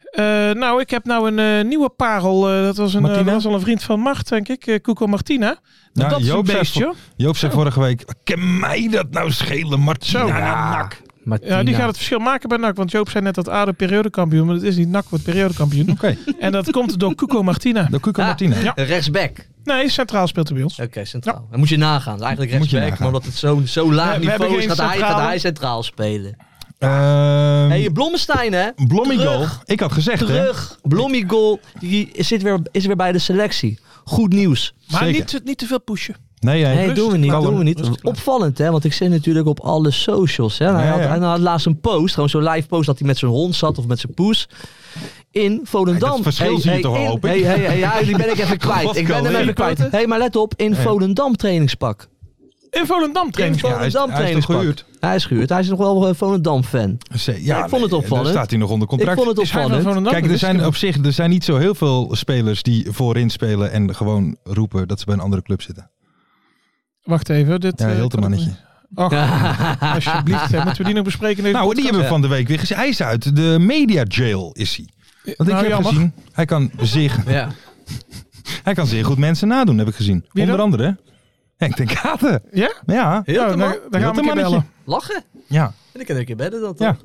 F: eh, nou, ik heb nou een eh, nieuwe parel. eh, dat, was een, eh,
D: Martina?
F: dat was al een vriend van Mart, denk ik. eh Cuco Martina. Nou,
D: Nou,
F: dat is een
D: Joop zei
F: beestje.
D: Joop zei vorige week, kan mij dat nou schelen, Martina?
F: Zo.
D: Ja.
E: Martina.
F: Ja, die gaat het verschil maken bij NAC. Want Joop zei net dat ADO periodekampioen. Maar dat is niet NAC wordt periodekampioen.
D: Oké,
F: en dat komt door Cuco Martina.
D: de Cuco
E: Ah,
D: Martina.
F: ja.
E: Rechtsback. Oké,
F: Nee, centraal speelt hij bij ons.
E: centraal. Dan moet je nagaan. Eigenlijk
D: Moet je
E: rechtsback,
D: nagaan.
E: maar omdat het zo'n zo laag
F: We- we
E: niveau
F: hebben
E: is,
F: geen
E: gaat hij, gaat
F: centrale.
E: hij centraal spelen.
D: Ehm,
E: Hé, hey, Blommestein hè?
D: Blommigo.
E: Terug.
D: Ik had gezegd, hè?
E: Terug. Blommigol die zit weer, is weer bij de selectie. Goed nieuws.
F: Maar
D: Zeker.
F: niet, niet te veel pushen.
D: Nee, nee.
E: Nee, doen we niet.
D: kalm.
E: Doen we
F: Rustig
E: niet.
F: laten.
E: Opvallend, hè? Want ik zit natuurlijk op alle socials. Hè? En Hij,
D: Ja,
E: had,
D: ja.
E: hij had laatst een post, gewoon zo'n live post, dat hij met zijn hond zat of met zijn poes. In Volendam.
D: Hey, dat verschil zie je toch wel,
E: in-
D: hoop ik?
E: hey, hey, hey, ja, die ben ik even kwijt. Ik ben hem
D: Godkalle.
E: even kwijt. Hé, hey, maar let op, in Volendam trainingspak.
F: In Volendam
E: In
F: training.
D: Ja, hij is-
E: Volendam
D: hij is toch
E: trainingspak.
D: gehuurd?
E: Hij is gehuurd. Hij is nog wel eh, Volendam-fan.
D: Ze- Ja,
E: Ik vond het
D: nee,
E: opvallend.
D: Daar staat hij nog onder
E: Ik
D: contract.
E: vond het
F: Is hij van
E: opvallend.
F: Volendam?
D: Kijk, er
F: Dat wist ik
D: zijn
F: niet.
D: op zich er zijn niet zo heel veel spelers die voorin spelen en gewoon roepen dat ze bij een andere club zitten.
F: Wacht even. Dit,
D: Ja,
F: eh,
D: heel te
F: kan ik
D: mannetje.
F: niet. Ach, alsjeblieft. hè, Moeten we die nog bespreken? in deze
D: Nou, die
F: podcast?
D: hebben we van de week weer gezien. Hij is uit de media jail, is hij. Want ik
F: Nou,
D: heb
F: jammer.
D: gezien, hij kan, zeer,
E: Ja.
D: hij kan zeer goed mensen nadoen, heb ik gezien.
F: Wie
D: Onder
F: dan?
D: andere Henk ten Katen.
F: eh, Ja?
D: Ja,
E: Heel te
F: nou,
E: man.
F: dan, dan gaan we hem
D: mannetje.
F: bellen.
E: Lachen.
D: ja.
E: En ik kan een keer bedden dat
D: Ja.
E: toch?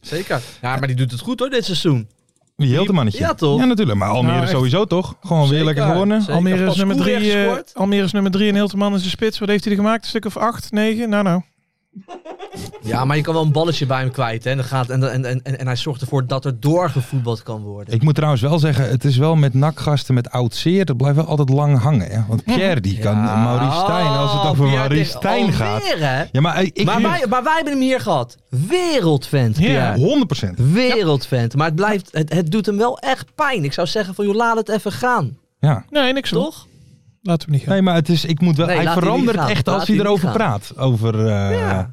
E: Zeker. Ja, maar die doet het goed hoor, dit seizoen.
D: Die heel te mannetje.
E: Ja, toch?
D: Ja, natuurlijk. Maar Almere
F: Nou, echt.
D: sowieso toch? Gewoon weer
E: Zeker,
D: lekker gewonnen.
E: zeker.
F: Almere is,
E: Pas
F: nummer
E: Koer
F: drie, eh,
E: gescoord.
F: Almere is nummer drie en Hilterman is de spits. Wat heeft hij er gemaakt? Een stuk of acht, negen? Nou, nou.
E: Ja, maar je kan wel een balletje bij hem kwijt. Hè? En, dan gaat, en, en, en, en hij zorgt ervoor dat er doorgevoetbald kan worden.
D: Ik moet trouwens wel zeggen, het is wel met nakgasten met oud zeer, dat blijft wel altijd lang hangen. Hè? Want Pierre die kan
E: Ja.
D: Maurice Stijn, als het
E: Oh,
D: over
E: Pierre
D: Maurice
E: tegen-
D: Stijn
E: alweer,
D: gaat.
E: hè?
D: Ja, maar eh, ik
E: maar, wij, maar wij hebben hem hier gehad. Wereldvent,
D: Ja,
E: Pierre.
D: 100%.
E: Wereldvent. Maar het, blijft, het, het doet hem wel echt pijn. Ik zou zeggen van, joh, laat het even gaan.
D: Ja.
F: Nee, niks hoor.
E: Toch?
F: Laten we niet gaan.
D: Nee, maar het is, ik moet wel,
E: Nee,
D: hij
E: laat die
D: verandert
E: niet gaan.
D: echt
E: Laat
D: als
E: die
D: hij
E: niet
D: erover
E: gaan.
D: praat. Over, eh,
E: Ja.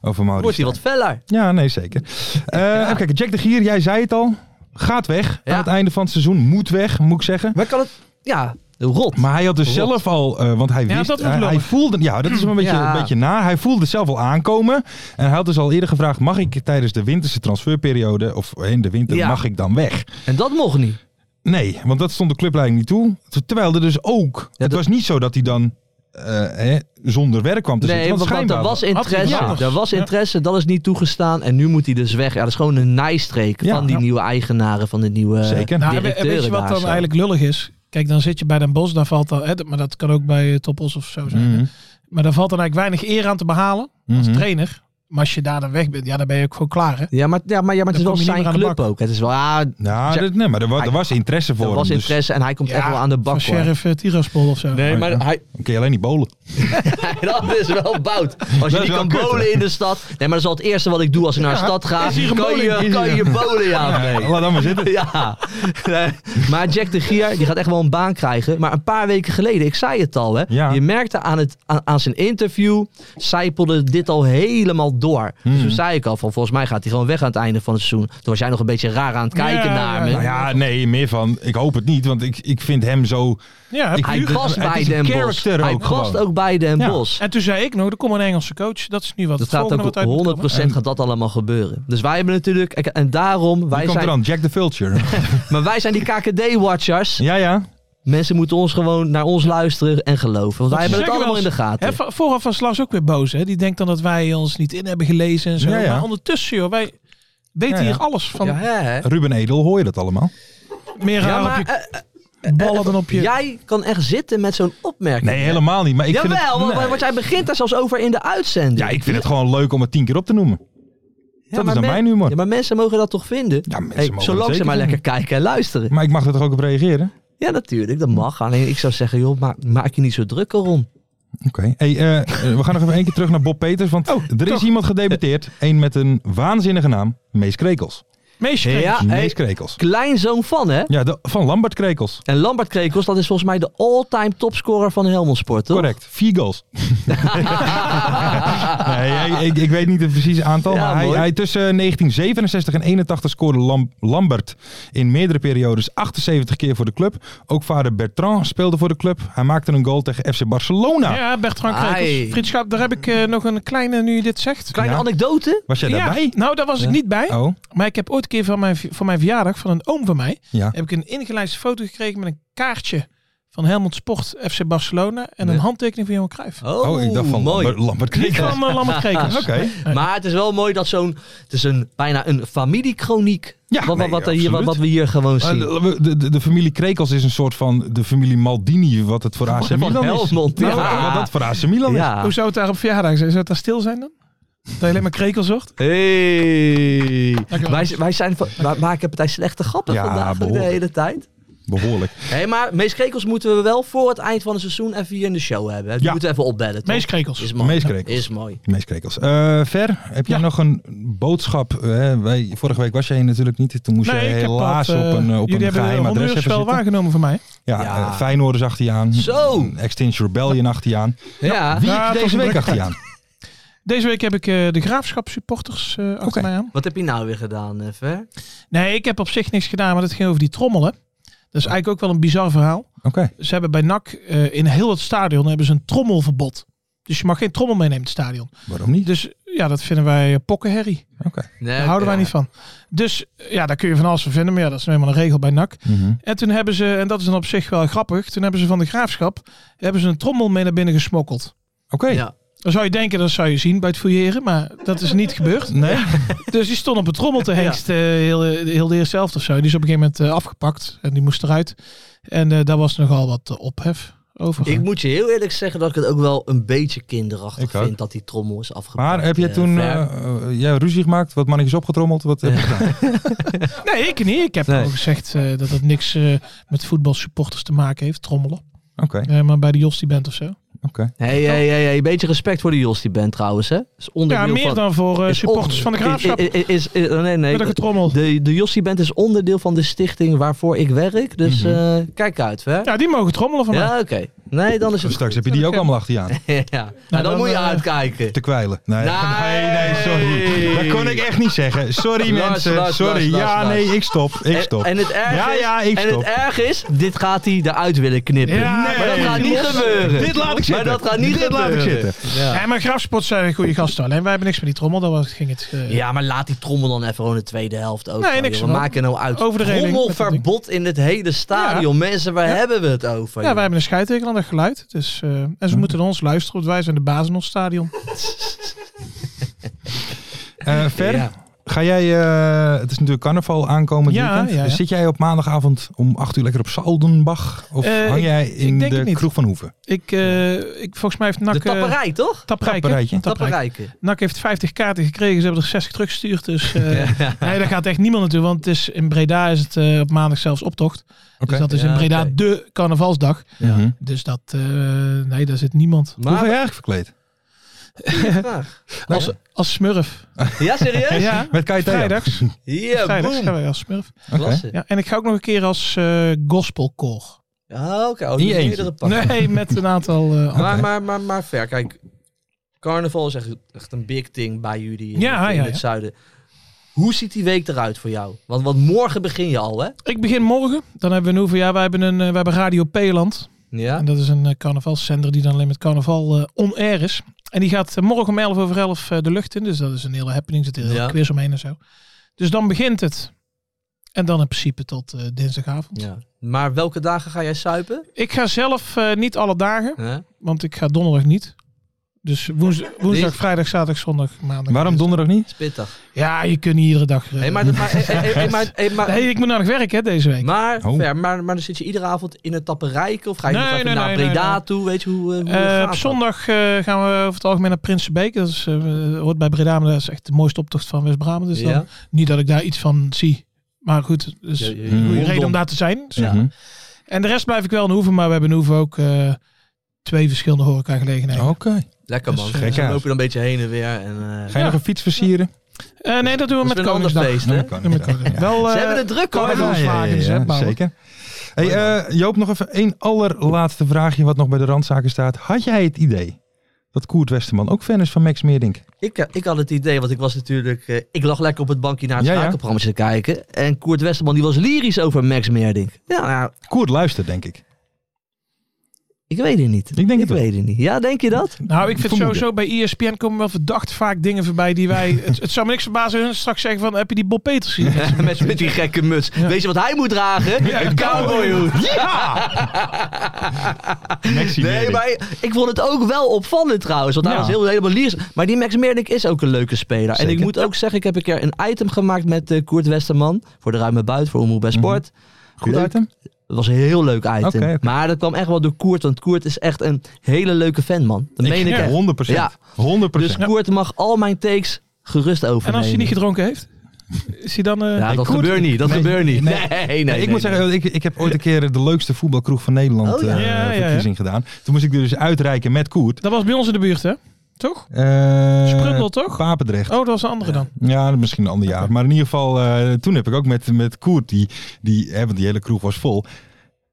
D: over Maurice
E: Wordt hij wat
D: Stijn.
E: feller.
D: Ja, nee, zeker. Eh Even kijken, Jack de Gier, jij zei het al. Gaat weg.
E: Ja.
D: Aan het einde van het seizoen moet weg, moet ik zeggen.
E: Maar kan het... Ja, rot.
D: Maar hij had dus
E: Rot.
D: zelf al, eh, want hij
F: Ja,
D: wist,
F: dat wordt
D: hij- hij
F: lullig.
D: voelde, ja, dat is hem een beetje,
E: Ja.
D: een beetje naar. Hij voelde het zelf al aankomen en hij had dus al eerder gevraagd: mag ik tijdens de winterse transferperiode of in de winter
E: Ja.
D: mag ik dan weg?
E: En dat mocht niet.
D: Nee, want dat stond de clubleiding niet toe. Terwijl er dus ook, het
E: dat-
D: was niet zo dat hij dan eh, hè, zonder werk kwam
F: Dus
D: te
E: Nee,
D: zitten.
E: want, want er
D: schijnbaar-
E: was
F: Had hij
E: interesse.
F: iets
E: Er was
F: Ja.
E: interesse, dat is niet toegestaan. En nu moet hij dus weg. Ja, dat is gewoon een nijstreek
D: Ja.
E: van die
D: Ja.
E: nieuwe eigenaren, van de nieuwe... eh,
D: Zeker.
F: Nou, en we- en
E: directeuren
F: weet je
E: daar
F: wat dan
E: zo.
F: eigenlijk lullig is? Kijk, dan zit je bij Den Bos, daar valt dan, hè, dat- maar dat kan ook bij eh, Toppos of zo zijn.
D: Mhm,
F: Maar daar valt dan eigenlijk weinig eer aan te behalen als
D: mhm.
F: trainer. Maar als je daar dan weg bent, ja, dan ben je ook gewoon klaar. Hè?
E: Ja, maar, ja, maar, ja, maar het is wel
F: Dan kom je niet
E: zijn
F: meer aan de
E: club
F: bak.
E: ook. Het is wel, ah, er
D: Ja, dat- nee, maar er, wa- er was interesse voor
E: was
D: hem. Dus
E: interesse en hij komt
F: Ja,
E: echt wel aan de bak.
F: Van
E: hoor.
F: Sheriff eh, Tiraspol of zo.
E: Nee, maar hij,
D: dan kun je alleen niet bolen.
E: dat is wel bout. Als je
D: is
E: niet
D: wel
E: kan
D: kut, hè?
E: bolen in de stad. Nee, maar dat is al het eerste wat ik doe als ik naar een stad ga.
D: hier een
E: Kan
D: bowling? Is
E: je,
D: hier
E: kan
D: een-
E: je bolen, ja. of nee?
D: Laat dan maar zitten.
E: Ja, Nee. maar Jack de Gier die gaat echt wel een baan krijgen. Maar een paar weken geleden, ik zei het al, hè,
D: Ja.
E: je merkte aan, het, aan, aan zijn interview, zijpelde dit al helemaal door.
D: Hmm.
E: Dus toen zei ik al van volgens mij gaat hij gewoon weg aan het einde van het seizoen. Toen was jij nog een beetje raar aan het kijken
F: Ja,
E: naar me.
D: Nou ja, nee, meer van. Ik hoop het niet, want ik, ik vind hem zo.
F: Ja,
D: Ik-
E: Hij
D: Het
E: past
D: is
E: bij
D: een
E: Den Bosch.
D: character
E: Hij
D: ook
E: past
D: gewoon.
E: ook bij Den
D: Ja.
E: Bosch.
F: En toen zei ik nog, er komt een Engelse coach. Dat is nu wat
E: Dat
F: het
E: gaat
F: volgende
E: ook
F: wat uit moet komen.
E: 100% gaat dat allemaal gebeuren. Dus wij hebben natuurlijk, en- en daarom,
D: Wie
E: wij
D: komt er
E: zijn,
D: dan? Jack the Vulture.
E: maar wij zijn die KKD-watchers.
D: ja, ja.
E: Mensen moeten ons gewoon naar ons luisteren en geloven. Want wij hebben het
F: Zeggen
E: allemaal in
F: wel
E: de
F: eens,
E: gaten.
F: Hè, va- vooraf was Lars ook weer boos. Hè? Die denkt dan dat wij ons niet in hebben gelezen en zo.
D: Ja, ja.
F: Maar ondertussen, joh, wij weten
D: Ja, ja.
F: hier alles van.
E: Ja, hè, hè?
D: Ruben Edel, hoor je dat allemaal?
F: Meer
E: Ja,
F: raar
E: maar,
F: op je
E: eh,
F: ballen dan op je...
E: jij kan echt zitten met zo'n opmerking.
D: Nee, helemaal niet. Maar ik vind
E: Jawel,
D: het,
E: want-
D: nee.
E: want jij begint daar zelfs over in de uitzending.
D: Ja, ik vind het gewoon leuk om het tien keer op te noemen.
E: Ja,
D: dat is
E: maar
D: dan
E: men-
D: mijn humor.
E: Ja, maar mensen mogen dat toch vinden?
D: Ja, mensen
E: Hey,
D: mogen dat
E: zolang ze
D: zeker
E: maar lekker
D: vinden.
E: kijken en luisteren.
D: Maar ik mag er toch ook op reageren?
E: Ja, natuurlijk, dat mag. Alleen ik zou zeggen, joh, ma- maak je niet zo druk erom.
D: Oké. Hey, eh, eh, we gaan nog even één keer terug naar Bob Peters. Want
E: Oh,
D: er is
F: toch.
D: iemand gedebuteerd. Eén met een waanzinnige naam. Mees Krekels.
F: Meisje,
E: Ja, hey,
D: Mees Krekels.
E: kleinzoon van, hè?
D: Ja, de- van Lambert Krekels.
E: En Lambert Krekels, dat is volgens mij de all-time topscorer van Helmond Sport, toch?
D: Correct. Vier goals. nee, ik, ik, ik weet niet het precieze aantal.
E: Ja,
D: maar hij,
E: mooi.
D: hij tussen 1967 en 81 scoorde Lam- Lambert in meerdere periodes 78 keer voor de club. Ook vader Bertrand speelde voor de club. Hij maakte een goal tegen FC Barcelona.
F: Ja, Bertrand
E: Ai.
F: Krekels. Vriendschap, daar heb ik eh, nog een kleine, nu je dit zegt.
E: Kleine
D: Ja.
E: anekdote.
D: Was jij
F: Ja,
D: daarbij?
F: nou, daar was ik niet bij.
D: Oh,
F: Maar ik heb ooit een keer van mijn, van mijn verjaardag van een oom van mij...
D: ja.
F: heb ik een ingelijste foto gekregen met een kaartje van Helmond Sport FC Barcelona... en een
E: Ja.
F: handtekening van Johan Cruijff.
D: Oh, ik dacht van
E: mooi.
D: Lambert, Lambert
F: Niet
D: Krekels.
F: van uh, Lambert Krekels.
D: Oké.
E: Maar het is wel mooi dat zo'n, het is een, bijna een familiekroniek.
D: Ja,
E: wat, wat,
D: nee,
E: wat, er hier, wat,
D: absoluut.
E: wat we hier gewoon
D: Maar
E: zien.
D: De, de- de, de familie Krekels is een soort van de familie Maldini, wat het voor AC
E: Van
D: Milan is.
E: Helmond, ja.
D: Nou, Wat dat voor AC Milan is.
E: ja.
F: Hoe zou het daar op verjaardag zijn? Zou het daar stil zijn dan? Dat je alleen maar Krekels zocht?
E: Hey.
F: Dankjewel.
E: Wij, wij, zijn van, wij maken partij slechte grappen
D: Ja,
E: vandaag de
D: behoorlijk.
E: hele tijd.
D: Behoorlijk.
E: Hé, maar Mees Krekels moeten we wel voor het eind van het seizoen even hier in de show hebben. hè. Die
D: Ja.
E: moeten we even opbellen. toch?
F: Mees Krekels.
E: Is mooi.
D: Mees Krekels.
E: Is mooi.
D: Mees Krekels. Eh, Ver, heb jij
F: Ja.
D: nog een boodschap? Eh, wij, vorige week was jij hier natuurlijk niet. Toen moest
F: Nee,
D: je
F: ik heb
D: helaas
F: dat, eh,
D: op een, eh, op
F: jullie
D: een
F: hebben
D: geheim
F: een
D: adres even
F: Honduras-spel
D: zitten.
F: waargenomen van mij.
D: Ja,
E: Ja.
D: eh, Feyenoord is achter je aan.
E: Zo.
D: Extinction Rebellion achter je aan.
E: Ja.
D: Wie
F: Ja, het
D: is
F: was
D: deze
F: een
D: week
F: druk
D: achter je aan?
F: Deze week heb ik eh, de Graafschap supporters eh, achter
D: Oké.
F: mij aan.
E: Wat heb je nou weer gedaan, eh, Ver?
F: Nee, ik heb op zich niks gedaan, maar dat ging over die trommelen. Dat is eigenlijk ook wel een bizar verhaal.
D: Oké.
F: Ze hebben bij NAC eh, in heel het stadion hebben ze een trommelverbod. Dus je mag geen trommel meenemen in het stadion.
D: Waarom niet?
F: Dus ja, dat vinden wij eh, pokkenherrie.
D: Oké.
E: Nee,
F: Daar
D: Eh,
F: houden wij
E: ja.
F: niet van. Dus eh, ja, daar kun je van alles van vinden. Maar ja, dat is nou eenmaal een regel bij NAC.
D: Mhm.
F: En toen hebben ze, en dat is dan op zich wel grappig, toen hebben ze van de graafschap hebben ze een trommel mee naar binnen gesmokkeld.
D: Oké.
E: Ja.
F: Dan zou je denken, dat zou je zien bij het fouilleren, maar dat is niet gebeurd.
D: Nee?
F: Dus die stond op een trommel te hengst, eh, heel, eh, heel de eerste helft of zo. Die is op een gegeven moment eh, afgepakt en die moest eruit. En eh, daar was nogal wat eh, ophef over.
E: Ik moet je heel eerlijk zeggen dat ik het ook wel een beetje kinderachtig
D: Ik ook.
E: vind dat die trommel is afgepakt.
D: Maar heb je
E: eh,
D: toen
E: Ver.
D: eh, eh, ja, ruzie gemaakt? Wat mannetjes opgetrommeld? Wat heb je gedaan?
F: Nee, ik niet. Ik heb
E: Nee.
F: al gezegd eh, dat het niks eh, met voetbalsupporters te maken heeft, trommelen.
D: Oké.
F: Eh, maar bij de Jos die bent of zo.
D: Oké.
E: Hey, hey, hey, hey, beetje respect voor de Jos die bent trouwens, hè? Is
F: Ja,
E: onderdeel
F: meer
E: van,
F: dan voor eh,
E: is
F: supporters
E: on-
F: van de graafschap.
E: Is, is, is- eh, nee, nee.
F: Met een getrommel.
E: De, de Jos die bent is onderdeel van de stichting waarvoor ik werk. Dus eh, kijk uit, hè? Ja,
F: Ja, die mogen trommelen van mij.
E: oké. Nee, dan is het.
D: Dus Straks heb je die ook allemaal achter je aan.
E: ja. Nou, dan,
F: dan,
E: moet je
F: eh,
E: uitkijken.
D: te kwijlen. Nee,
E: Nee.
D: nee, nee, sorry. Dat kon ik echt niet zeggen. Sorry
E: Lars,
D: mensen,
E: Lars,
D: sorry.
E: Lars,
D: ja,
E: Lars.
D: nee, ik stop. Ik
E: En,
D: stop.
E: en het erg
D: Ja,
E: is,
D: ja, ik
E: en het
D: stop.
E: erg is, dit gaat hij eruit willen knippen.
F: Ja,
E: maar dat
D: nee.
E: gaat niet
D: Los.
E: gebeuren.
D: Dit laat ik zitten.
E: Maar dat gaat niet
D: Dit laat
E: gebeuren.
D: ik
E: zitten. Ja.
F: Ja, maar Graafsport zijn goede gasten. Alleen wij hebben niks met die trommel. Dat was, ging het. eh,
E: Ja, maar laat die trommel dan even gewoon de tweede helft ook.
F: Nee,
E: joh.
F: niks
E: We
F: van.
E: maken nou uit.
F: Over de reling.
E: Trommelverbod in het hele stadion. Mensen, waar hebben we het over?
F: Ja,
E: joh?
F: wij hebben een scheidteken aan dat geluid. Dus, eh, en
E: Hm.
F: ze moeten naar ons luisteren, want wij zijn de baas in ons stadion.
D: Eh, Fer,
E: Ja.
D: ga jij, eh, het is natuurlijk carnaval aankomend
F: Ja,
D: weekend.
F: ja, ja.
D: Dus zit jij op maandagavond om 8 uur lekker op Saldenbach? Of
F: Eh,
D: hang
F: ik-
D: jij in
F: ik denk
D: de
F: het niet.
D: kroeg van Hoeven?
F: Ik, eh, ik, volgens mij heeft NAC...
E: De
F: eh,
E: tapperij, toch?
F: Tapperijken.
D: Tapperijtje.
F: Tapperijken.
E: Tapperijken.
F: NAC heeft 50 kaarten gekregen. Ze hebben er 60 teruggestuurd. Dus eh, nee, daar gaat echt niemand naartoe. Want het is, in Breda is het eh, op maandag zelfs optocht.
D: Oké.
F: Dus dat is
E: Ja,
F: in Breda
E: oké.
F: de carnavalsdag.
D: Mhm.
F: Dus dat... eh, nee, daar zit niemand.
D: Hoe ga
E: Maar,
D: jij eigenlijk verkleed?
F: Als, als smurf.
E: ja, serieus? Ja,
F: Ja,
D: Met Kai Theo?
F: vrijdags. Vrijdags gaan
E: boom.
F: wij als smurf.
E: Klasse.
F: Ja, en ik ga ook nog een keer als eh gospelkoor.
E: Ah, Oké, oh,
D: Niet
E: die
D: eentje.
E: meerdere pakken.
F: Nee, met een aantal... eh,
E: Maar, maar, maar, maar ver, kijk. Carnaval is echt, echt een big thing bij jullie in,
F: Ja,
E: in
F: ja,
E: het
F: ja.
E: zuiden. Hoe ziet die week eruit voor jou? Want, want morgen begin je al, hè?
F: Ik begin morgen. Dan hebben we een hoeven. Ja, wij hebben, een, eh, wij hebben Radio Peeland.
E: Ja.
F: En dat is een eh, carnavalszender die dan alleen met carnaval eh on-air is. En die gaat eh, morgen om 11 over 11 eh, de lucht in. Dus dat is een hele happening. Er zit een hele
E: Ja.
F: quiz omheen en zo. Dus dan begint het. En dan in principe tot eh, dinsdagavond.
E: ja. Maar welke dagen ga jij suipen?
F: Ik ga zelf eh, niet alle dagen,
E: Hè?
F: want ik ga donderdag niet. Dus woens- woensdag,
E: Deze-
F: vrijdag, zaterdag, zondag, maandag.
D: Waarom
F: dinsdag.
D: donderdag niet?
E: Spittig.
F: Ja, je kunt niet iedere dag. eh,
E: Hé, maar, maar, hey, hey, hey, maar, hey, maar,
F: Nee, ik moet naar het werk hè, deze week.
E: maar,
D: Oh.
E: ver, maar, maar dan zit je iedere avond in het tapperijken of ga je
F: Nee,
E: nog even
F: nee,
E: naar
F: nee,
E: Breda
F: nee, nee.
E: toe? Weet je hoe, eh, hoe
F: Eh,
E: gaat
F: op
E: dat?
F: zondag eh, gaan we over het algemeen naar Prinsenbeek. Dat is, eh, hoort bij Breda, maar dat is echt de mooiste optocht van West-Brabant. Dus dan-
E: Ja.
F: niet dat ik daar iets van zie. Maar goed, dus
E: Ja, ja,
D: Hmm.
E: ja.
F: goede reden
E: Rondom.
F: om daar te zijn. Dus-
E: Ja.
D: Mhm.
F: En de rest blijf ik wel in Hoeven, maar we hebben in Hoeven ook eh, twee verschillende horecagelegenheden.
E: Oh.
D: Oké.
E: Lekker
F: Dus,
E: man.
F: eh,
E: Dan
D: gekhuis.
E: loop je dan een beetje heen en weer. En, eh,
D: Ga je
F: Ja.
D: nog een fiets versieren?
F: Eh, nee, dat doen we
E: dat is
F: met
E: weer een ander
F: Koningsdag.
E: feest, hè?
D: Kan
F: Doen we met
D: inderdaad.
F: Koningsdag. Wel,
E: Ze
F: eh,
E: hebben het druk hoor.
F: carnaval.
E: Ja,
F: vragen, dus, hè, maar-
D: zeker. Hey, eh, Joop, nog even één allerlaatste vraagje wat nog bij de randzaken staat. Had jij het idee dat Koert Westerman ook fan is van Max Meerdink?
E: Ik, eh, ik had het idee, want ik was natuurlijk... eh, ik lag lekker op het bankje naar het
D: Ja, ja.
E: schakelprogramma te kijken. En Koert Westerman die was lyrisch over Max Meerdink. Ja, nou,
D: Koert luistert, denk ik.
E: ik weet het niet.
D: Ik denk het wel.
E: weet het niet. Ja, denk je dat?
F: Nou, ik vind
D: Vermoeden.
F: sowieso bij ESPN komen wel verdacht vaak dingen voorbij die wij... het, het zou me niks verbazen als hun straks zeggen van, heb je die Bob Peters gezien?
E: Met, met die gekke muts. Weet je wat hij moet dragen? een cowboyhoed.
D: Maxi
E: Nee, maar ik vond het ook wel opvallend trouwens. Want hij
D: Ja.
E: was heel, helemaal liers. Maar die Max Meerdink is ook een leuke speler. En
D: Zeker.
E: ik moet ook zeggen, ik heb een keer een item gemaakt met eh, Koert Westerman. Voor de Ruime Buit, voor Omroep bij Sport.
D: Mhm. Goed
E: Leuk.
D: item.
E: Het was een heel leuk item.
D: Oké, oké.
E: Maar dat kwam echt wel door Koert. Want Koert is echt een hele leuke fan, man. Dat meen ik echt.
D: 100
E: Ja.
D: 100
E: Dus Koert mag al mijn takes gerust overnemen.
F: En als hij niet gedronken heeft? Is hij dan... eh,
E: Ja,
D: Nee,
E: dat
D: Koert-
E: gebeurt niet. Dat
D: Nee,
E: gebeurt niet.
D: nee.
E: Nee, nee, nee.
D: ik
E: nee.
D: moet zeggen, ik, ik heb ooit een keer de leukste voetbalkroeg van Nederland
E: Oh, ja.
D: eh,
F: Ja, ja, ja.
D: verkiezing gedaan. Toen moest ik dus uitreiken met Koert.
F: Dat was bij ons in de buurt, hè? Toch?
D: Eh,
F: Sprundel, toch?
D: Papendrecht.
F: Oh, dat was een andere dan.
D: Ja, misschien een ander jaar. Maar in ieder geval, eh, toen heb ik ook met, met Koert, die, die, hè, want die hele kroeg was vol.